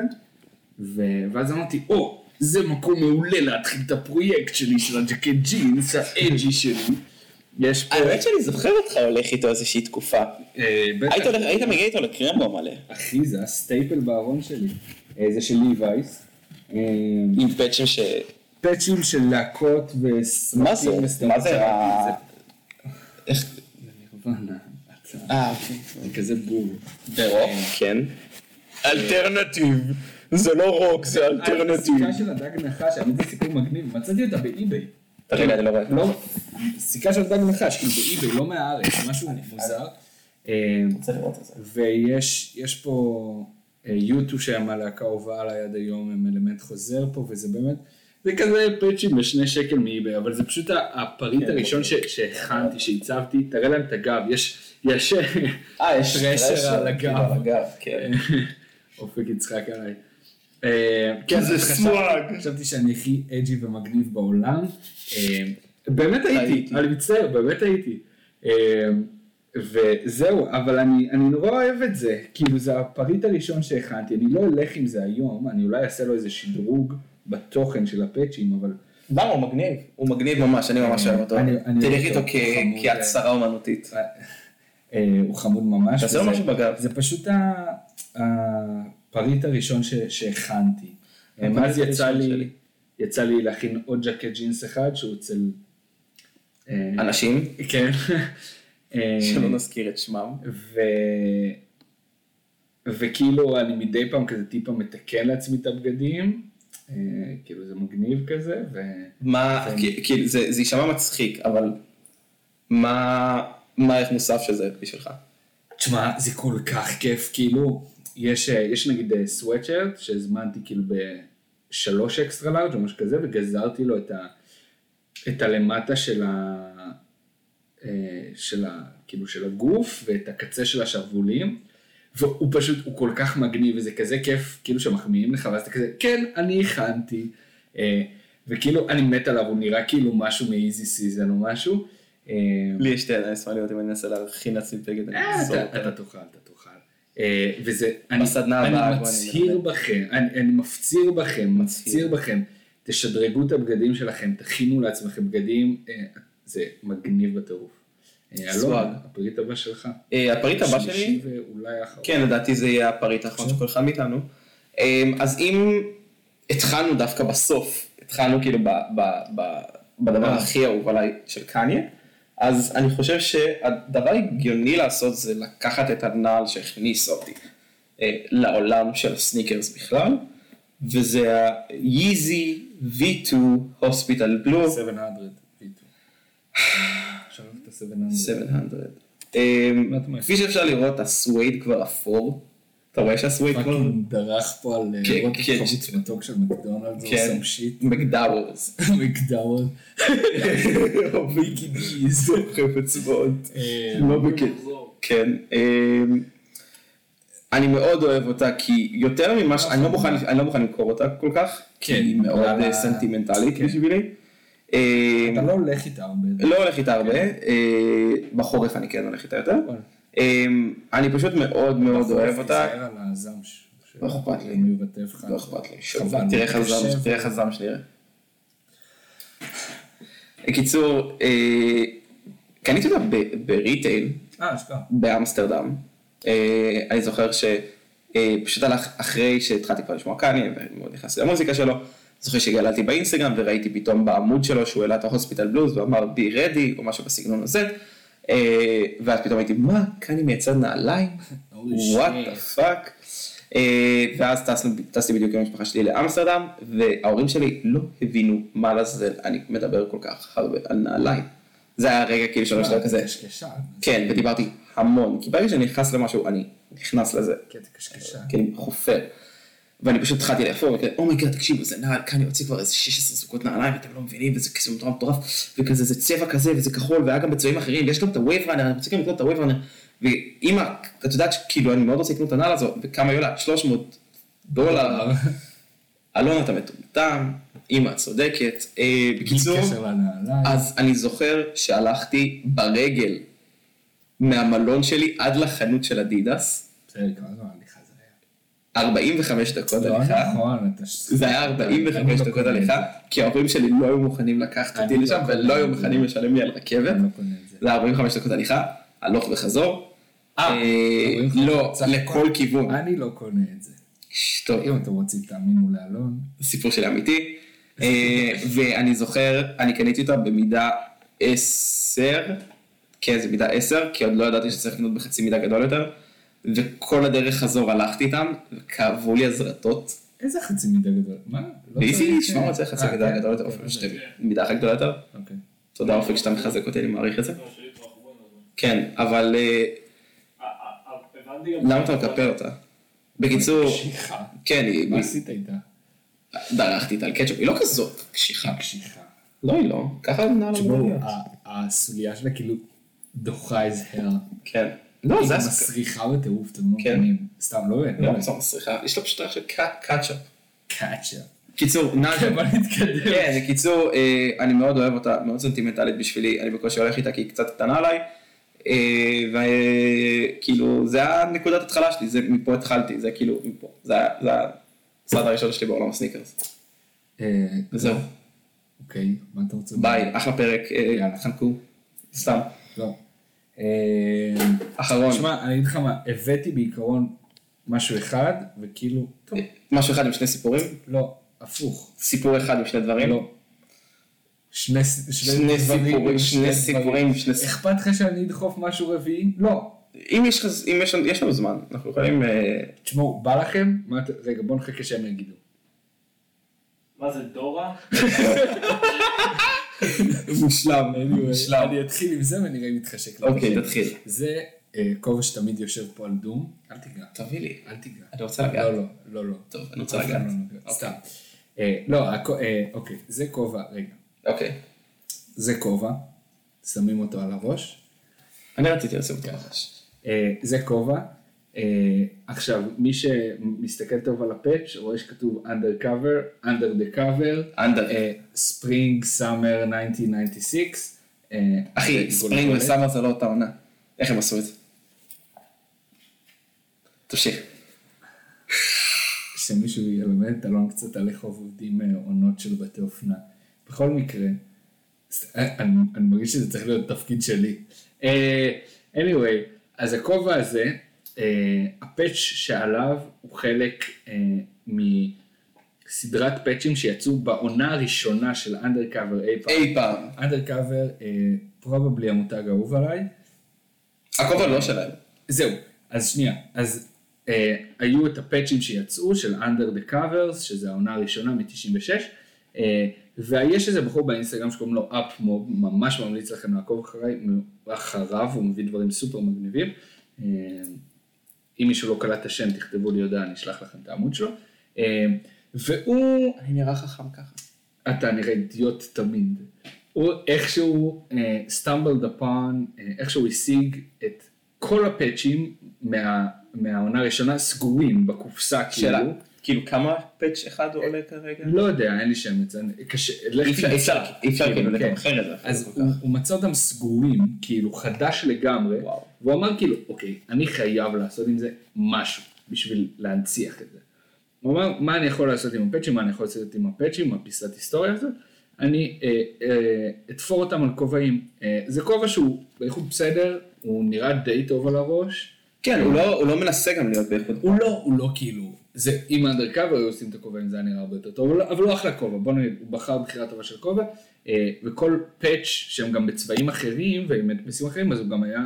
Speaker 2: ו- ואז אמרתי, או, זה מקום מעולה להתחיל את הפרויקט שלי של הג'קט ג'ינס, האג'י שלי. יש פה,
Speaker 5: האמת שאני זוכר אותך הולך איתו איזושהי תקופה.
Speaker 2: אה, בטח,
Speaker 5: היית הולך- היית מגיע איתו לקרמבו מלא.
Speaker 2: אחי, זה הסטייפל בארון שלי, אה, זה של ליווייס. אמ,
Speaker 5: עם פאצ'ים ש...
Speaker 2: פאצ'ים של להקות
Speaker 5: מה זה?
Speaker 2: וסרטים
Speaker 5: מה זה?
Speaker 2: וסטנדרטים.
Speaker 5: ה- איך-
Speaker 2: נירוונה, אתה-
Speaker 5: אה, אוקיי.
Speaker 2: זה כזה בור.
Speaker 5: ברוק?
Speaker 1: כן.
Speaker 5: אלטרנטיב. זה לא רוק, זה
Speaker 1: אה,
Speaker 2: הסיכה של הדג נחש, האמת זה סיפור מגניב, מצאתי אותה באי-ביי.
Speaker 1: רגע, אני לא רואה.
Speaker 2: לא, סיכה של דג נחש, כאילו באי-ביי, לא מהארץ, משהו מוזר. אה, ויש יש פה אה, יוטו שהם הלהקה אהובה עליי עד היום, הם אלמנט חוזר פה, וזה באמת, זה כזה פאצ'ים בשני שקל מאיבי, אבל זה פשוט ה- הפריט הראשון ש- שהכנתי, שהצבתי, תראה להם את הגב, יש, יש
Speaker 1: אה, יש כאילו
Speaker 2: טרשר על הגב.
Speaker 1: כן.
Speaker 2: אה, אופק יצחק עליי. אה, כן,
Speaker 5: זה
Speaker 2: אז חשבתי-
Speaker 5: סוואג.
Speaker 2: חשבתי שאני הכי אג'י ומגניב בעולם. אה, באמת הייתי,
Speaker 1: הייתי.
Speaker 2: אני מצטער, באמת הייתי. אה, וזהו, אבל אני, אני נורא אוהב את זה, כאילו זה הפריט הראשון שהכנתי, אני לא אלך עם זה היום, אני אולי אעשה לו איזה שדרוג בתוכן של הפאצ'ים, אבל
Speaker 1: למה? הוא מגניב. הוא מגניב ממש, אני ממש אוהב אותו.
Speaker 2: אני- אני
Speaker 1: תלך
Speaker 2: אוהב
Speaker 1: איתו
Speaker 2: אותו,
Speaker 1: כ-
Speaker 2: חמוד. כן.
Speaker 1: כהצהרה אומנותית.
Speaker 2: אה, הוא חמוד ממש.
Speaker 1: תעשה לו
Speaker 2: וזה-
Speaker 1: משהו בגב.
Speaker 2: זה פשוט ה- הפריט הראשון ש- שהכנתי. אה,
Speaker 1: הפריט
Speaker 2: ואז יצא
Speaker 1: הראשון
Speaker 2: לי,
Speaker 1: שלי.
Speaker 2: יצא לי להכין עוד ג'קט ג'ינס אחד שהוא אצל... אה,
Speaker 1: אנשים,
Speaker 2: כן. אה,
Speaker 1: שלא נזכיר את שמם.
Speaker 2: ו... וכאילו אני מדי פעם כזה טיפה מתקן לעצמי את הבגדים, אה, כאילו זה מגניב כזה, ו...
Speaker 1: מה,
Speaker 2: כן.
Speaker 1: כי- כאילו, זה זה יישמע מצחיק, אבל מה מה ערך מוסף של זה בשבילך?
Speaker 2: תשמע, זה כל כך כיף, כאילו, יש, אה, יש נגיד אה, סוואטשרט שהזמנתי כאילו בשלוש אקסטרה לארג' או משהו כזה, וגזרתי לו את, ה, את הלמטה של ה... אה, של ה... כאילו של הגוף, ואת הקצה של השרוולים, והוא פשוט, הוא כל כך מגניב, וזה כזה כיף, כאילו שמחמיאים לך, ואז אתה כזה, כן, אני הכנתי, אה, וכאילו, אני מת עליו, הוא נראה כאילו משהו מאיזי סיזן או משהו. אה,
Speaker 1: לי יש שתי עיניים שמאליות, אם אני אנסה להרכין לעצמי בגד, אני
Speaker 2: אה,
Speaker 1: אעזור
Speaker 2: אתה-
Speaker 1: אותה.
Speaker 2: אתה תאכל, אתה תאכל. אה, וזה, אני
Speaker 1: בסדנה הבאה, בוא,
Speaker 2: אני
Speaker 1: אני
Speaker 2: מצהיר
Speaker 1: מלמד.
Speaker 2: בכם, אני אני מפציר בכם, מפציר בכם, תשדרגו את הבגדים שלכם, תכינו לעצמכם בגדים, אה, זה מגניב בטירוף. אה, אלון,
Speaker 1: סוואג.
Speaker 2: הפריט הבא שלך.
Speaker 1: אה, הפריט הבא שלי,
Speaker 2: שלישי ואולי האחרון.
Speaker 1: כן, לדעתי זה יהיה הפריט האחרון של כל אחד מאיתנו. אמ, אז אם התחלנו דווקא בסוף, התחלנו כאילו ב- ב- ב- בדבר הכי אהוב עליי של קניה, אז אני חושב שהדבר הגיוני לעשות זה לקחת את הנעל שהכניס אותי אה, לעולם של הסניקרס בכלל, וזה ה-Yeezy V2 Hospital Blue.
Speaker 2: 700, פתאום. עכשיו את ה-700.
Speaker 1: 700.
Speaker 2: מה אתה אומר?
Speaker 1: אמ, כפי שאפשר לראות, הסווייד כבר אפור. אתה רואה שהסווייד כבר...
Speaker 2: פאקינג דרך פה על אה,
Speaker 1: כן,
Speaker 2: רוטב
Speaker 1: כן.
Speaker 2: חמוץ מתוק של מקדונלדס, או
Speaker 1: כן.
Speaker 2: סם שיט,
Speaker 1: מקדאוורס.
Speaker 2: מקדונלדס.
Speaker 1: ויקי גיז, דוחף אצבעות.
Speaker 2: אה,
Speaker 1: לא בקטע. כן. אמ, אני מאוד אוהב אותה כי יותר ממה ש... אני לא מוכן- אני לא מוכן למכור אותה כל כך, כי
Speaker 2: כן.
Speaker 1: היא מאוד
Speaker 2: אבל-
Speaker 1: אה, סנטימנטלית
Speaker 2: כן.
Speaker 1: בשבילי. אמ,
Speaker 2: אתה לא הולך איתה הרבה.
Speaker 1: לא הולך איתה הרבה, אה, בחורף אני כן הולך איתה יותר.
Speaker 2: כן. וואלה.
Speaker 1: אמ, אני פשוט מאוד מאוד לא אוהב אותה.
Speaker 2: תיזהר על הזעם ש-
Speaker 1: לא אכפת לי.
Speaker 2: אם הוא יבטף לך.
Speaker 1: לא אכפת לי.
Speaker 2: חבל.
Speaker 1: תראה איך
Speaker 2: מתקשה
Speaker 1: הזעם-
Speaker 2: ו-
Speaker 1: תראה איך הזעם שלי. קיצור, אה, קניתי אותה ב- בריטייל
Speaker 2: אה, אשכרה.
Speaker 1: באמסטרדם. אה, אני זוכר שפשוט הלך אחרי שהתחלתי כבר לשמוע קניה ומאוד נכנסתי למוזיקה שלו. זוכר שגללתי באינסטגרם וראיתי פתאום בעמוד שלו שהוא העלה את ההוספיטל בלוז ואמר בי רדי או משהו בסגנון הזה. אה, ואז פתאום הייתי מה קניה מייצר נעליים? וואט דה פאק. אה, ואז טסנו, טסתי בדיוק עם המשפחה שלי לאמסטרדם וההורים שלי לא הבינו מה לעזאזל אני מדבר כל כך הרבה על נעליים. זה היה רגע כאילו שלוש
Speaker 2: אה,
Speaker 1: דקות כזה.
Speaker 2: קשקשה.
Speaker 1: כן, ודיברתי המון, כי ברגע שאני נכנס למשהו, אני נכנס לזה,
Speaker 2: כן, זה קשקשה.
Speaker 1: כי אני חופר. ואני פשוט התחלתי לאפור, וכאלה, אומייגאד, תקשיבו, זה נעל, כאן יוצא כבר איזה 16 זוגות נעליים, אתם לא מבינים, וזה כזה מטורף מטורף, וכזה, זה צבע כזה, וזה כחול, והיה גם בצבעים אחרים, ויש גם את הווייבראנר, אני רוצה גם לקנות את הווייבראנר, ואמא, את יודעת, כאילו, אני מאוד רוצה לקנות את הנעל הזו, וכמה היא עולה? 300 דולר. אלון, אתה מטומטם, אמא, את צודקת. אה, בקיצור,
Speaker 2: בלי קשר לנעליים.
Speaker 1: אז אני זוכר שהלכתי ברגל מהמלון שלי עד לחנות של אדידס,
Speaker 2: בסדר, כמה זמן הליכה זה היה?
Speaker 1: 45 דקות
Speaker 2: לא
Speaker 1: הליכה.
Speaker 2: נכון, אתה...
Speaker 1: זה היה
Speaker 2: אני
Speaker 1: 45
Speaker 2: לא
Speaker 1: דקות
Speaker 2: קונה את
Speaker 1: הליכה,
Speaker 2: זה.
Speaker 1: כי ההורים שלי לא היו מוכנים לקחת
Speaker 2: אני
Speaker 1: אותי
Speaker 2: לא
Speaker 1: לשם,
Speaker 2: קונה
Speaker 1: ולא היו
Speaker 2: את זה.
Speaker 1: מוכנים לשלם לי על רכבת.
Speaker 2: אני לא קונה את זה.
Speaker 1: זה היה 45 דקות הליכה, הלוך וחזור. אה,
Speaker 2: 45
Speaker 1: לא,
Speaker 2: דקות.
Speaker 1: לכל כיוון.
Speaker 2: אני לא קונה את זה.
Speaker 1: טוב,
Speaker 2: אם אתם רוצים, תאמינו לאלון.
Speaker 1: סיפור שלי אמיתי. אה, ואני זוכר, אני קניתי אותה במידה 10, כן, זה מידה 10, כי עוד לא ידעתי שצריך לקנות בחצי מידה גדול יותר, וכל הדרך חזור הלכתי איתם, וכאבו לי הזרטות.
Speaker 2: איזה חצי מידה גדול? מה? לא
Speaker 1: ואיזי,
Speaker 2: צריך-
Speaker 1: שמע, צריך חצי
Speaker 2: אה,
Speaker 1: מידה
Speaker 2: כן.
Speaker 1: גדול יותר, אופן, שתי מידה אחת גדולה יותר.
Speaker 2: אוקיי.
Speaker 1: תודה אופק שאתה מחזק אותי, אני מעריך את זה. כן, אבל אה, למה אתה מקפל אותה? בקיצור, אה.
Speaker 2: קשיחה.
Speaker 1: כן, היא
Speaker 2: מה עשית איתה?
Speaker 1: דרכתי איתה על קטשופ, היא לא כזאת קשיחה.
Speaker 2: קשיחה.
Speaker 1: לא, היא לא, ככה נעל
Speaker 2: תשמעו, ה- הסוליה שלה כאילו דוחה איזה הר.
Speaker 1: כן. לא, זה
Speaker 2: היא
Speaker 1: הסוכר.
Speaker 2: מסריחה בטירוף, אתם לא
Speaker 1: כן.
Speaker 2: מבינים. סתם, לא באמת. לא
Speaker 1: לא,
Speaker 2: באמת.
Speaker 1: זו מסריחה, יש לה פשוט ריח של ק- קטשופ.
Speaker 2: קאצ'ה.
Speaker 1: קיצור, נאז'ה.
Speaker 2: בוא נתקדם.
Speaker 1: כן, בקיצור, אה, אני מאוד אוהב אותה, מאוד סנטימנטלית בשבילי, אני בקושי הולך איתה כי היא קצת קטנה עליי, וכאילו, זה היה נקודת התחלה שלי, זה מפה התחלתי, זה כאילו, מפה, זה היה- זה היה הצעד הראשון שלי בעולם הסניקרס.
Speaker 2: אה,
Speaker 1: וזהו,
Speaker 2: אוקיי, מה אתה רוצה?
Speaker 1: ביי, אחלה פרק, אה,
Speaker 2: יאללה.
Speaker 1: חנקו, סתם,
Speaker 2: לא. אה,
Speaker 1: אחרון,
Speaker 2: תשמע, אני אגיד לך מה, הבאתי בעיקרון משהו אחד, וכאילו, טוב,
Speaker 1: משהו אחד עם שני סיפורים,
Speaker 2: לא, הפוך,
Speaker 1: סיפור אחד עם שני דברים,
Speaker 2: לא. שני ס-
Speaker 1: שני
Speaker 2: דברים,
Speaker 1: סיפורים, שני
Speaker 2: דברים.
Speaker 1: סיפורים, שני סיפורים.
Speaker 2: אכפת לך שאני אדחוף משהו רביעי? לא.
Speaker 1: אם יש לך- אם יש לנו- יש לנו זמן, אנחנו יכולים... אה,
Speaker 2: תשמעו, בא לכם? מה את- רגע, בואו נחכה שהם יגידו.
Speaker 6: מה זה דורה?
Speaker 1: מושלם, מושלם.
Speaker 2: אני אתחיל עם זה ונראה אם יתחשק לי.
Speaker 1: אוקיי, תתחיל.
Speaker 2: זה אה, כובע שתמיד יושב פה על דום, אל תיגע.
Speaker 1: תביא לי.
Speaker 2: אל תיגע.
Speaker 1: אני רוצה לגעת.
Speaker 2: לא, לא, לא, לא.
Speaker 1: טוב, אני רוצה
Speaker 2: אף אחד
Speaker 1: לגעת.
Speaker 2: לא נוגע.
Speaker 1: אוקיי.
Speaker 2: סתם. אה, לא, הכו- אה, אוקיי, זה כובע, רגע.
Speaker 1: אוקיי.
Speaker 2: זה כובע, שמים אותו על הראש.
Speaker 1: אני רציתי לשים אותו מחש.
Speaker 2: אה, זה כובע. אה, עכשיו, מי שמסתכל טוב על הפאץ' רואה שכתוב undercover, under the cover, אה,
Speaker 1: אנדר.
Speaker 2: ספרינג, סאמר 1996. אה,
Speaker 1: אחי,
Speaker 2: זה
Speaker 1: ספרינג
Speaker 2: גולגולת.
Speaker 1: וסאמר זה לא אותה עונה. איך הם עשו את זה? תמשיך.
Speaker 2: שמישהו ילמד את אלון קצת על איך עובדים אה, עונות של בתי אופנה. בכל מקרה, ס- אה, אני, אני מרגיש שזה צריך להיות תפקיד שלי. אה, anyway, אז הכובע הזה, אה, הפאץ' שעליו הוא חלק אה, מסדרת פאצ'ים שיצאו בעונה הראשונה של אנדרקאבר אי פעם.
Speaker 1: אי פעם.
Speaker 2: אנדרקאבר, פרובבלי המותג האהוב עליי.
Speaker 1: הכובע לא שלהם.
Speaker 2: זהו, אז שנייה, אז אה, היו את הפאצ'ים שיצאו של under the covers, שזה העונה הראשונה מ-96, אה, ויש איזה בחור באינסטגרם שקוראים לו אפמוב, ממש ממליץ לכם לעקוב אחרי, אחריו, הוא מביא דברים סופר מגניבים. אה, אם מישהו לא קלט את השם, תכתבו לי הודעה, אני אשלח לכם את העמוד שלו. אה, והוא
Speaker 1: אני נראה חכם ככה.
Speaker 2: אתה נראה אידיוט תמיד. הוא איכשהו סטמבלד uh, אפון, uh, איכשהו השיג את כל הפאצ'ים מה, מהעונה הראשונה סגורים בקופסה
Speaker 1: שאלה.
Speaker 2: כאילו.
Speaker 1: כאילו כמה פאץ' אחד הוא עולה כרגע?
Speaker 2: לא יודע, אין לי שם את זה, אני- קשה, לך
Speaker 1: אי אפשר-
Speaker 2: תמצא.
Speaker 1: אי אפשר, אי אפשר כאילו
Speaker 2: כן.
Speaker 1: לתמחר את זה. אפילו
Speaker 2: אז
Speaker 1: כל
Speaker 2: הוא,
Speaker 1: כך.
Speaker 2: הוא מצא אותם סגורים, כאילו חדש לגמרי,
Speaker 1: וואו.
Speaker 2: והוא אמר כאילו, אוקיי, אני חייב לעשות עם זה משהו בשביל להנציח את זה. הוא אמר, מה אני יכול לעשות עם הפאצ'ים, מה אני יכול לעשות עם הפאצ'ים, עם הפיסת היסטוריה הזאת, אני אה, אה, אתפור אותם על כובעים. אה, זה כובע שהוא באיכות בסדר, הוא נראה די טוב על הראש.
Speaker 1: כן, הוא לא- הוא לא מנסה גם להיות באיכות.
Speaker 2: הוא לא, הוא לא כאילו, זה, אם אנדרקאבר היו עושים את הכובעים זה היה נראה הרבה יותר טוב, אבל, אבל הוא אחלה כובע, בוא נגיד, הוא בחר בחירה טובה של כובע, אה, וכל פאץ' שהם גם בצבעים אחרים ועם מדפסים אחרים, אז הוא גם היה,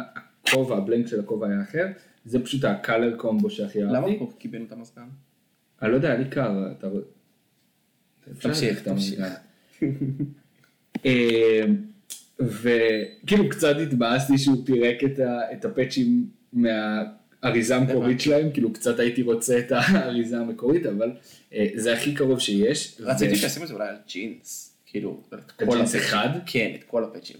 Speaker 2: הכובע, הבלנק של הכובע היה אחר, זה פשוט הקלר קומבו שהכי
Speaker 1: למה
Speaker 2: אהבתי.
Speaker 1: הוא קיבל את המזגן?
Speaker 2: אני לא יודע, לי קר, אתה... אפשר
Speaker 1: תמשיך,
Speaker 2: להגיד את
Speaker 1: תמשיך.
Speaker 2: המוזיקה. אמ,
Speaker 7: כאילו,
Speaker 2: וכאילו קצת התבאסתי שהוא פירק את ה- את הפאצ'ים מה...
Speaker 7: האריזה המקורית שלהם, כאילו קצת הייתי רוצה את האריזה המקורית, אבל אה, זה הכי קרוב שיש.
Speaker 1: רציתי
Speaker 7: ו-
Speaker 1: שישימו את זה אולי על ג'ינס, כאילו, את כל
Speaker 7: ג'ינס
Speaker 1: הפאצ'ים.
Speaker 7: אחד?
Speaker 1: כן, את כל הפאצ'ים.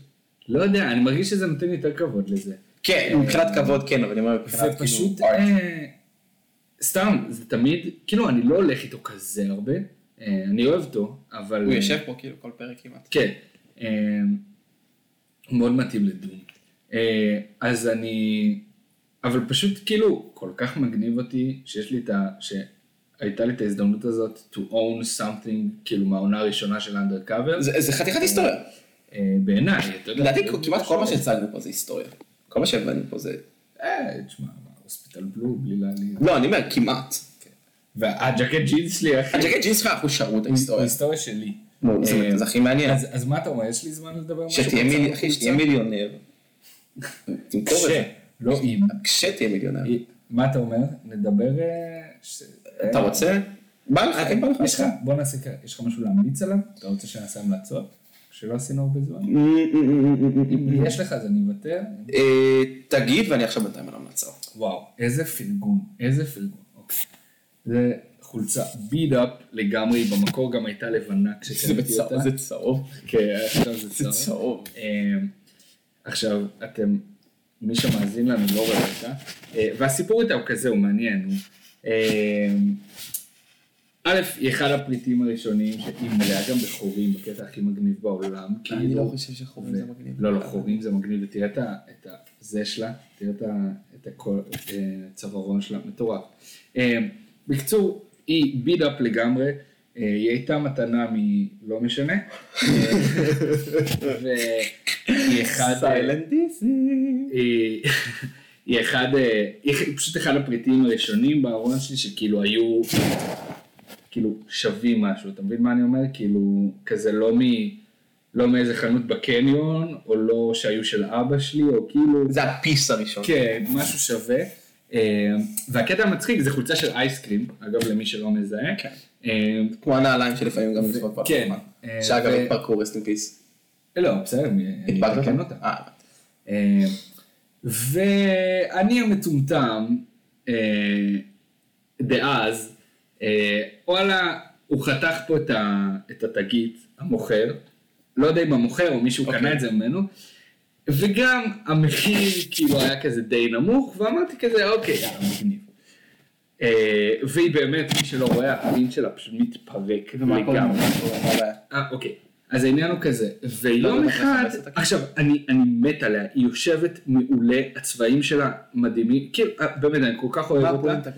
Speaker 7: לא יודע, אני מרגיש שזה נותן יותר כבוד לזה.
Speaker 1: כן, מבחינת כבוד כן, אבל אני אומר מבחינת
Speaker 7: זה פשוט, אה, סתם, זה תמיד, כאילו אני לא הולך איתו כזה הרבה, אה, אני אוהב אותו, אבל...
Speaker 1: הוא יושב פה כאילו כל פרק כמעט.
Speaker 7: כן. אה, מאוד מתאים לדום. אה, אז אני... אבל פשוט כאילו, כל כך מגניב אותי, שיש לי את ה... שהייתה לי את ההזדמנות הזאת to own something, כאילו מהעונה הראשונה של undercover.
Speaker 1: זה זה חתיכת היסטוריה.
Speaker 7: אה, בעיניי, אתה יודע.
Speaker 1: לדעתי
Speaker 2: כן,
Speaker 7: זה-
Speaker 1: כמעט כל מה שהצגנו פה זה היסטוריה. כל מה שהבנו פה זה...
Speaker 7: אה, תשמע, מה, הוספיטל בלו, בלי להעליב.
Speaker 1: לא, אני אומר כמעט.
Speaker 7: והג'קט ג'ינס שלי, אחי. אה,
Speaker 1: הג'קט ג'ינס שלך, אנחנו שרו את ההיסטוריה.
Speaker 2: ההיסטוריה שלי.
Speaker 1: נו, זה- זה הכי מעניין.
Speaker 2: לא, אז אז מה אתה אומר? יש לי זמן לדבר? על משהו
Speaker 1: שתהיה
Speaker 2: קצר
Speaker 1: מיל-
Speaker 2: בחוץ?
Speaker 1: אחי, שתהיה מיליונר. תמכור את זה.
Speaker 2: לא אם.
Speaker 1: כשתהיה מיליונר.
Speaker 2: מה אתה אומר? נדבר... אה, ש-
Speaker 1: אתה רוצה? בא לך, כן בא לך.
Speaker 2: יש לך, בוא נעשה ככה, יש לך משהו להמליץ עליו? אתה רוצה שנעשה המלצות? שלא עשינו הרבה זמן? אם יש לך אז אני אוותר.
Speaker 1: אה, תגיד, ואני עכשיו בינתיים על המלצה.
Speaker 2: וואו, איזה פרגון, איזה פרגון. אוקיי. זה חולצה ביד אפ לגמרי, במקור גם הייתה לבנה כשקניתי אותה.
Speaker 1: צהוב.
Speaker 2: כן, עכשיו זה צהוב.
Speaker 1: צהוב.
Speaker 2: אמ, עכשיו, אתם, מי שמאזין לנו לא רואה אותה, אה, והסיפור איתה הוא כזה, הוא מעניין. הוא, אמ, א', היא אחד הפריטים הראשונים, שהיא מלאה גם בחורים, בקטע הכי מגניב בעולם.
Speaker 1: אני
Speaker 2: כאילו,
Speaker 1: לא חושב שחורים זה מגניב.
Speaker 2: לא, לא, חורים זה מגניב, ותראה את ה- את הזה שלה, תראה את ה- את הכל- את, אה, הצווארון שלה, מטורף. אה, בקיצור, היא ביד אפ לגמרי, אה, היא הייתה מתנה מ... לא משנה. אה, והיא אחד... אה,
Speaker 1: דיסי.
Speaker 2: היא- היא אחד, אה, היא פשוט אחד הפריטים הראשונים בארון שלי שכאילו היו כאילו שווים משהו, אתה מבין מה אני אומר? כאילו כזה לא מ... לא מאיזה חנות בקניון, או לא שהיו של אבא שלי, או כאילו...
Speaker 1: זה הפיס הראשון.
Speaker 2: כן, משהו שווה. אה, והקטע המצחיק זה חולצה של אייסקרים, אגב למי שלא מזהה.
Speaker 1: כן.
Speaker 2: אה,
Speaker 1: כמו הנעליים שלפעמים גם נשמעות פה.
Speaker 2: כן. אה,
Speaker 1: שאגב,
Speaker 2: ו-
Speaker 1: התפרקו רסט פיס.
Speaker 2: לא, בסדר, אני אני
Speaker 1: הדבקת אותם?
Speaker 2: אתקן אותה.
Speaker 1: אה,
Speaker 2: אה, ואני המטומטם, אה, דאז, אה, וואלה, הוא חתך פה את ה- את התגית, המוכר, לא יודע אם המוכר או מישהו קנה את זה ממנו, וגם המחיר כאילו היה כזה די נמוך, ואמרתי כזה, אוקיי, יאללה, מגניב. אה, והיא באמת, מי שלא רואה, הפנים שלה פשוט מתפרק לגמרי. אה, אוקיי. אז העניין הוא כזה,
Speaker 1: לא,
Speaker 2: ויום
Speaker 1: לא,
Speaker 2: אחד,
Speaker 1: לא, לא,
Speaker 2: עכשיו, אני, אני מת עליה, היא יושבת מעולה, הצבעים שלה מדהימים, כאילו, אה, באמת, אני כל כך אוהב אותה,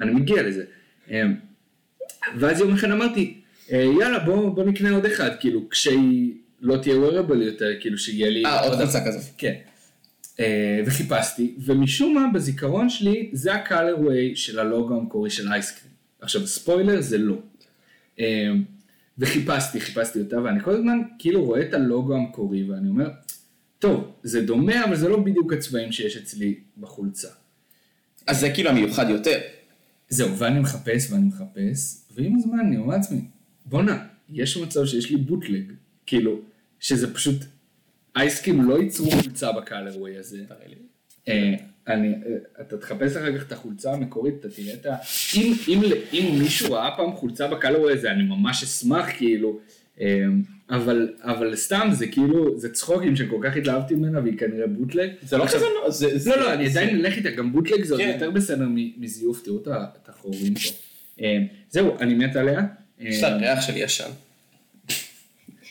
Speaker 2: אני מגיע לזה. אה, ואז יום אחד אמרתי, אה, יאללה, בוא, בוא נקנה עוד אחד, כאילו, כשהיא לא תהיה wearable יותר, כאילו, שיהיה לי...
Speaker 1: אה, עוד חולצה כזאת.
Speaker 2: כן. אה, וחיפשתי, ומשום מה בזיכרון שלי זה ה-colorway של הלוגו המקורי של אייסקרים. עכשיו ספוילר זה לא. אה, וחיפשתי, חיפשתי אותה, ואני כל הזמן כאילו רואה את הלוגו המקורי ואני אומר, טוב, זה דומה אבל זה לא בדיוק הצבעים שיש אצלי בחולצה.
Speaker 1: אז זה כאילו המיוחד יותר.
Speaker 2: זהו, ואני מחפש ואני מחפש, ועם הזמן אני אומר לעצמי, בואנה, יש מצב שיש לי בוטלג, כאילו, שזה פשוט, אייסקים לא ייצרו חולצה בקלרווי הזה. אה, אני, אה, אתה תחפש אחר כך את החולצה המקורית, אתה תראה את ה... אם, אם, ל- אם מישהו ראה פעם חולצה בקלרווי הזה, אני ממש אשמח, כאילו, אה, אבל, אבל סתם, זה כאילו, זה צחוקים שכל כך התלהבתי ממנה, והיא כנראה בוטלג.
Speaker 1: זה לא
Speaker 2: עכשיו-
Speaker 1: כזה לא, זה... זה-
Speaker 2: לא, לא, אני עדיין אלך איתה, גם בוטלג זה עוד
Speaker 1: כן.
Speaker 2: יותר בסדר מ- מזיוף, תראו את ה- את החורים פה. אה, זהו, אני מת עליה. אה,
Speaker 1: יש לה ריח של ישן.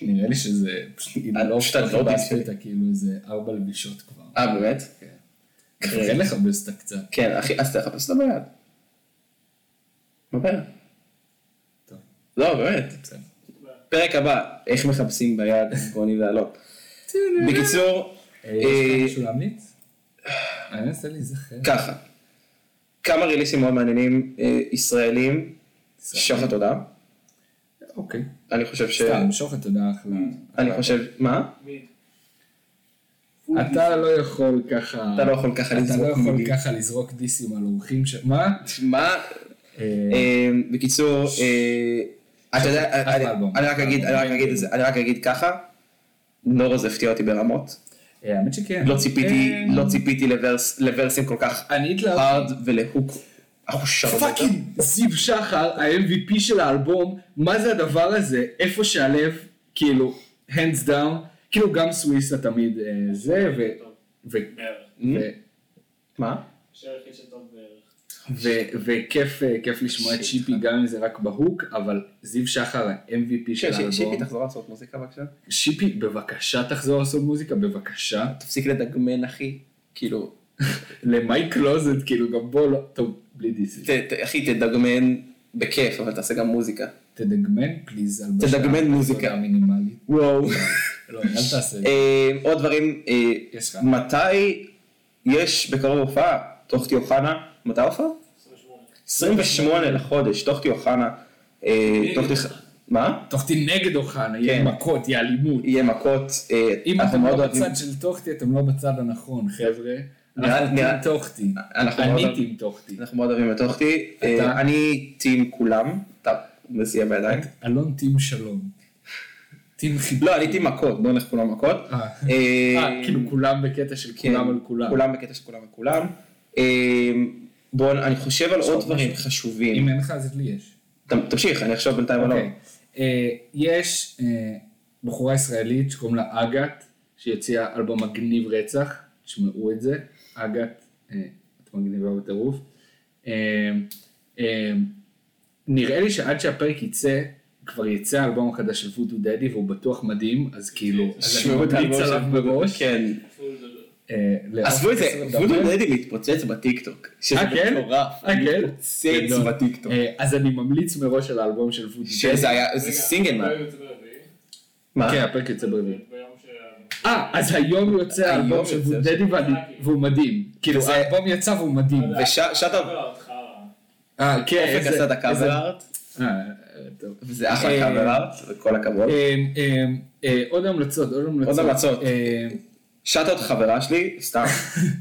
Speaker 2: נראה לי שזה פשוט, אם
Speaker 1: את
Speaker 2: לא
Speaker 1: פשוט את לא
Speaker 2: חיפשתי
Speaker 1: בעד.
Speaker 2: אותה כאילו איזה ארבע לבישות כבר.
Speaker 1: אה, אוקיי. באמת?
Speaker 2: כן לחפש אותה קצת.
Speaker 1: כן, אחי, אז תחפש אותה ביד. בבעיה.
Speaker 2: טוב.
Speaker 1: לא, באמת.
Speaker 2: בסדר.
Speaker 1: פרק הבא, איך מחפשים ביד גוני ואלון. בקיצור,
Speaker 2: אה, יש לך
Speaker 1: אה,
Speaker 2: משהו להמליץ? אני מנסה להיזכר.
Speaker 1: ככה. כמה ריליסים מאוד מעניינים אה, ישראלים, שוחד תודה.
Speaker 2: אוקיי.
Speaker 1: אני חושב ש...
Speaker 2: סתם, שוחד תודה אחלה.
Speaker 1: אני חושב... מה?
Speaker 8: מי?
Speaker 2: אתה לא יכול ככה...
Speaker 1: אתה לא יכול ככה
Speaker 2: אתה לא
Speaker 1: לזרוק
Speaker 2: יכול
Speaker 1: מילים.
Speaker 2: ככה לזרוק דיסים על אורחים ש... מה?
Speaker 1: מה?
Speaker 2: אה,
Speaker 1: אה, בקיצור, אה, אתה יודע, אני-
Speaker 2: אחלה אלבום.
Speaker 1: אני רק אגיד- אני רק אגיד את זה- אני רק אגיד ככה, נורוז הפתיע אותי ברמות.
Speaker 2: אה, האמת שכן.
Speaker 1: לא ציפיתי,
Speaker 2: אה,
Speaker 1: לא אה, ציפיתי לברס- לוורסים כל כך
Speaker 2: אני
Speaker 1: hard
Speaker 2: התלהבתי.
Speaker 1: ולהוק. אחושר.
Speaker 2: פאקינג זיו שחר, ה-MVP של האלבום, מה זה הדבר הזה? איפה שהלב, כאילו, hands down, כאילו גם סוויסה תמיד אה, זה, ו... ו...
Speaker 1: אה?
Speaker 9: בערך.
Speaker 2: ו-
Speaker 1: מה?
Speaker 9: השיר היחיד שטוב בערך.
Speaker 2: ו- וכיף אה, כיף לשמוע את שיפי גם אם זה רק בהוק, אבל זיו שחר ה-MVP של
Speaker 1: ש- ש- כן, שיפי
Speaker 2: האלבום.
Speaker 1: תחזור לעשות מוזיקה בבקשה.
Speaker 2: שיפי, בבקשה תחזור לעשות מוזיקה, בבקשה.
Speaker 1: תפסיק לדגמן אחי. כאילו,
Speaker 2: למי קלוזט, כאילו גם בוא לא... טוב, בלי דיסי.
Speaker 1: ת- ת- אחי תדגמן בכיף אבל תעשה גם מוזיקה.
Speaker 2: תדגמן פליז על
Speaker 1: תדגמן
Speaker 2: בשעה,
Speaker 1: מוזיקה.
Speaker 2: תודה מינימלית.
Speaker 1: וואו.
Speaker 2: לא, אל תעשה את זה.
Speaker 1: אה, עוד דברים, אה,
Speaker 2: יש לך.
Speaker 1: מתי יש בקרוב הופעה, תוכתי אוחנה, מתי ההופעה?
Speaker 9: 28.
Speaker 1: 28 לחודש, תוכתי אוחנה, אה,
Speaker 2: אוקיי.
Speaker 1: תוכתי, מה?
Speaker 2: תוכתי נגד אוחנה, יהיה
Speaker 1: כן.
Speaker 2: מכות, יהיה אלימות.
Speaker 1: יהיה מכות, אה,
Speaker 2: אם
Speaker 1: אנחנו
Speaker 2: אתם
Speaker 1: מאוד
Speaker 2: לא
Speaker 1: אוהבים,
Speaker 2: בצד של טוחתי, אתם לא בצד הנכון, חבר'ה.
Speaker 1: נראה-
Speaker 2: אנחנו
Speaker 1: נראה-
Speaker 2: טים טוחתי.
Speaker 1: אנחנו מאוד
Speaker 2: אני
Speaker 1: אוהבים-
Speaker 2: טים טוחתי.
Speaker 1: אנחנו מאוד אוהבים את תוכתי, אה,
Speaker 2: אתה?
Speaker 1: אני טים כולם, אתה מסיע בידיים,
Speaker 2: אוקיי. אלון טים שלום. טים חיבור.
Speaker 1: לא אני טים מכות, בואו נלך כולם מכות,
Speaker 2: אה,
Speaker 1: אה,
Speaker 2: אה, כאילו כולם בקטע של
Speaker 1: כן,
Speaker 2: כולם על כולם.
Speaker 1: כולם בקטע של כולם על כולם, בואו, אני חושב על עוד דברים חשובים,
Speaker 2: אם אין לך אז לי יש.
Speaker 1: ת- תמשיך, אני אחשוב בינתיים על עוד,
Speaker 2: אוקיי. אה, יש אה, בחורה ישראלית שקוראים לה אגת, שהוציאה אלבום מגניב רצח, תשמעו את זה, אגת, אה, את מגניבה בטירוף. אה, אה, נראה לי שעד שהפרק יצא, כבר יצא האלבום החדש של וודו דדי והוא בטוח מדהים, אז כאילו, אז אני
Speaker 1: שמעו את
Speaker 2: ממליץ
Speaker 1: האלבום
Speaker 2: עליו
Speaker 1: של-
Speaker 2: מראש.
Speaker 1: כן,
Speaker 2: אה, לאופן
Speaker 1: עזבו את זה,
Speaker 2: עשרים
Speaker 1: וודו
Speaker 2: לדבר.
Speaker 1: דדי מתפוצץ בטיקטוק. שזה
Speaker 2: אה, כן?
Speaker 1: מטורף.
Speaker 2: אה, כן?
Speaker 1: מתפוצץ
Speaker 2: גדול.
Speaker 1: בטיקטוק.
Speaker 2: אה, אז אני ממליץ מראש על האלבום של וודו דדי.
Speaker 1: שזה היה, זה סינגל מה.
Speaker 9: רגע, זה לא יוצא
Speaker 1: מה?
Speaker 2: כן, הפרק יצא ברביעי.
Speaker 9: ברביעי. ביום ש...
Speaker 2: אה, אז היום יוצא
Speaker 1: היום
Speaker 2: האלבום של
Speaker 1: יוצא,
Speaker 2: ווד דדי ואני- והוא מדהים. כאילו,
Speaker 1: וזה-
Speaker 2: האלבום יצא והוא מדהים.
Speaker 1: ושאט אאוט,
Speaker 9: לא, אותך רע.
Speaker 2: אה, כן,
Speaker 1: אופק עשה את הקאבר
Speaker 2: איזה-
Speaker 1: ארט,
Speaker 2: אה, טוב.
Speaker 1: וזה אחלה
Speaker 2: אה,
Speaker 1: קאבר ארט, וכל הכבוד.
Speaker 2: אמ, אמ, אה, עוד המלצות, עוד המלצות.
Speaker 1: המלצות.
Speaker 2: אמ,
Speaker 1: שאט אאוט חברה שלי, סתם.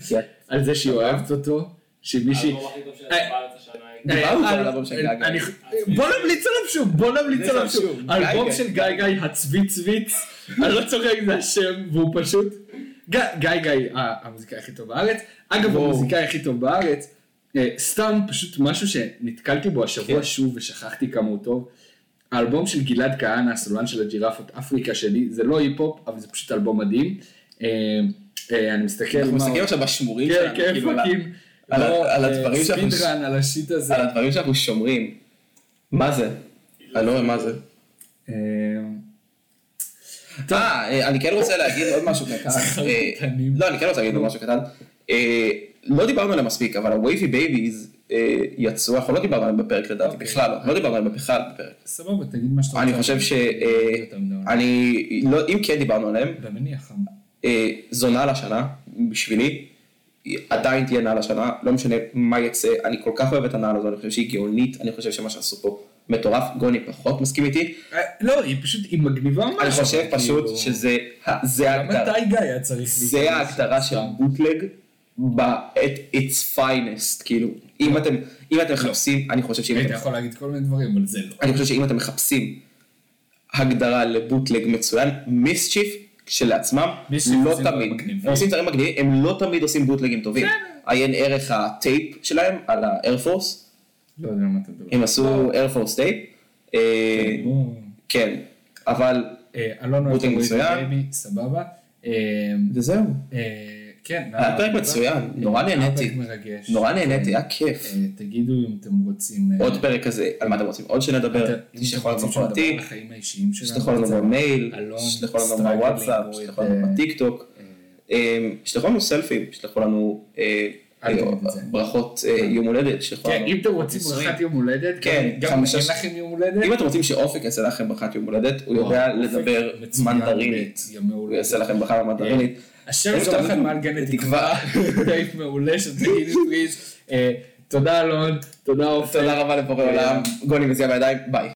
Speaker 2: כן, על זה שהיא אוהבת
Speaker 1: אוקיי.
Speaker 2: אותו, שמישהי...
Speaker 9: האלבום הכי טוב של בארץ השנה.
Speaker 1: דיברנו
Speaker 2: אה,
Speaker 1: כבר
Speaker 2: אה,
Speaker 1: על האלבום של
Speaker 2: אה,
Speaker 1: גיא גיא.
Speaker 2: אני- בוא נמליץ עליו שוב, בוא נמליץ עליו שוב.
Speaker 1: גיא
Speaker 2: אלבום
Speaker 1: גיא.
Speaker 2: של גיא גיא, הצוויצוויץ, אני לא צוחק, זה השם, והוא פשוט... גיא גיא, גיא, אה, המוזיקאי הכי טוב בארץ. אגב,
Speaker 1: וואו.
Speaker 2: המוזיקאי הכי טוב בארץ. אה, סתם פשוט משהו שנתקלתי בו
Speaker 1: כן.
Speaker 2: השבוע שוב ושכחתי כמה הוא טוב. האלבום של גלעד כהנא, הסולן של הג'ירפות אפריקה שלי, זה לא היפ-הופ, אבל זה פשוט אלבום מדהים. אה, אה, אני מסתכל...
Speaker 1: אנחנו
Speaker 2: מה-
Speaker 1: מסתכלים עכשיו בשמורים
Speaker 2: כן,
Speaker 1: שלנו,
Speaker 2: כן, לא,
Speaker 1: כאילו, על ה-
Speaker 2: פאקים.
Speaker 1: על ה- על הדברים שאנחנו-
Speaker 2: ספידרן, על השיט הזה.
Speaker 1: על הדברים שאנחנו שומרים. מה זה? אני לא רואה מה זה.
Speaker 2: אמ,
Speaker 1: אה, אה, אני כן רוצה להגיד עוד משהו קטן. אה,
Speaker 2: קטנים.
Speaker 1: לא, אני כן רוצה להגיד עוד משהו קטן. אה, לא דיברנו עליהם מספיק, אבל הווייבי בייביז אה, יצאו, אנחנו לא דיברנו עליהם בפרק לדעתי, בכלל לא, לא דיברנו עליהם בכלל בפרק.
Speaker 2: סבבה, תגיד מה שאתה רוצה.
Speaker 1: אוקיי.
Speaker 2: לא
Speaker 1: אני חושב ש... אה,
Speaker 2: יותר מדי עונה.
Speaker 1: אני... לא, אם כן דיברנו עליהם,
Speaker 2: במניח.
Speaker 1: אה, זו נעל השנה, בשבילי, היא עדיין תהיה נעל השנה, לא משנה מה יצא, אני כל כך אוהב את הנעל הזו, אני חושב שהיא גאונית, אני חושב שמה שעשו פה מטורף, גוני פחות מסכים איתי,
Speaker 2: לא, היא פשוט, היא מגניבה משהו.
Speaker 1: אני חושב כאילו- פשוט שזה ה- זה ההגדרה.
Speaker 2: מתי גיא היה צריך
Speaker 1: זה
Speaker 2: להיכנס?
Speaker 1: ההגדרה של
Speaker 2: סתם.
Speaker 1: בוטלג ב- at its finest, כאילו, אם אתם, אם
Speaker 2: לא.
Speaker 1: אתם מחפשים, אני חושב שאם
Speaker 2: היית
Speaker 1: אתם,
Speaker 2: אה, יכול להגיד כל מיני דברים, אבל זה לא.
Speaker 1: אני חושב שאם אתם מחפשים הגדרה לבוטלג מצוין, מיסצ'יף כשלעצמם,
Speaker 2: מיסצ'יף
Speaker 1: לא
Speaker 2: עושים דברים
Speaker 1: תמיד,
Speaker 2: מגניבים.
Speaker 1: הם עושים דברים מגניבים, הם לא תמיד עושים בוטלגים טובים, עיין ערך הטייפ שלהם על האיירפורס,
Speaker 2: לא יודע מה אתה מדבר.
Speaker 1: הם עשו איירפורס טייפ, אה,
Speaker 2: בואו.
Speaker 1: כן, אבל,
Speaker 2: אה, אלון אוהב
Speaker 1: בוטינג
Speaker 2: את הוויז
Speaker 1: מצוין.
Speaker 2: בייבי, סבבה. אה,
Speaker 1: וזהו,
Speaker 2: אה, כן.
Speaker 1: היה פרק
Speaker 2: נעלה,
Speaker 1: מצוין,
Speaker 2: אה,
Speaker 1: נורא
Speaker 2: היה
Speaker 1: נהניתי.
Speaker 2: פרק מרגש.
Speaker 1: נורא נהניתי,
Speaker 2: כן.
Speaker 1: היה כיף.
Speaker 2: אה, תגידו אם אתם רוצים... אה,
Speaker 1: עוד פרק כזה, על מה אתם רוצים עוד שנדבר,
Speaker 2: אתם- אם אתם
Speaker 1: תשלחו
Speaker 2: רוצים
Speaker 1: לנו
Speaker 2: שנדבר
Speaker 1: פרטי,
Speaker 2: על החיים האישיים שלנו.
Speaker 1: תשלחו לנו
Speaker 2: זה-
Speaker 1: במייל,
Speaker 2: אלון,
Speaker 1: תשלחו לנו
Speaker 2: סטראגלים,
Speaker 1: בוואטסאפ,
Speaker 2: או את,
Speaker 1: תשלחו לנו
Speaker 2: אה,
Speaker 1: בטיקטוק, אמ, תשלחו לנו סלפים, תשלחו לנו אה,
Speaker 2: אל תגיד
Speaker 1: אה,
Speaker 2: את זה.
Speaker 1: ברכות אה, יום הולדת, תשלחו
Speaker 2: כן,
Speaker 1: לנו
Speaker 2: אם אתם רוצים
Speaker 1: נישואים.
Speaker 2: ברכת יום הולדת,
Speaker 1: כן,
Speaker 2: גם
Speaker 1: חמישה-
Speaker 2: מגיע לכם יום הולדת.
Speaker 1: אם אתם רוצים שאופק יעשה לכם ברכת יום הולדת, הוא יודע
Speaker 2: וואו,
Speaker 1: לדבר
Speaker 2: אופק מצוין
Speaker 1: מנדרינית,
Speaker 2: בימי
Speaker 1: הוא
Speaker 2: הולדת. אה,
Speaker 1: יעשה לכם ברכה במנדרינית.
Speaker 2: השם
Speaker 1: איפה
Speaker 2: שלכם
Speaker 1: שאתם-
Speaker 2: מעל גני תקווה,
Speaker 1: בתקווה.
Speaker 2: טייפ מעולה של תגידי פריז. אה, תודה אלון, תודה אופן.
Speaker 1: תודה רבה לבורא
Speaker 2: אה,
Speaker 1: עולם, גוני מזיע בידיים, ביי.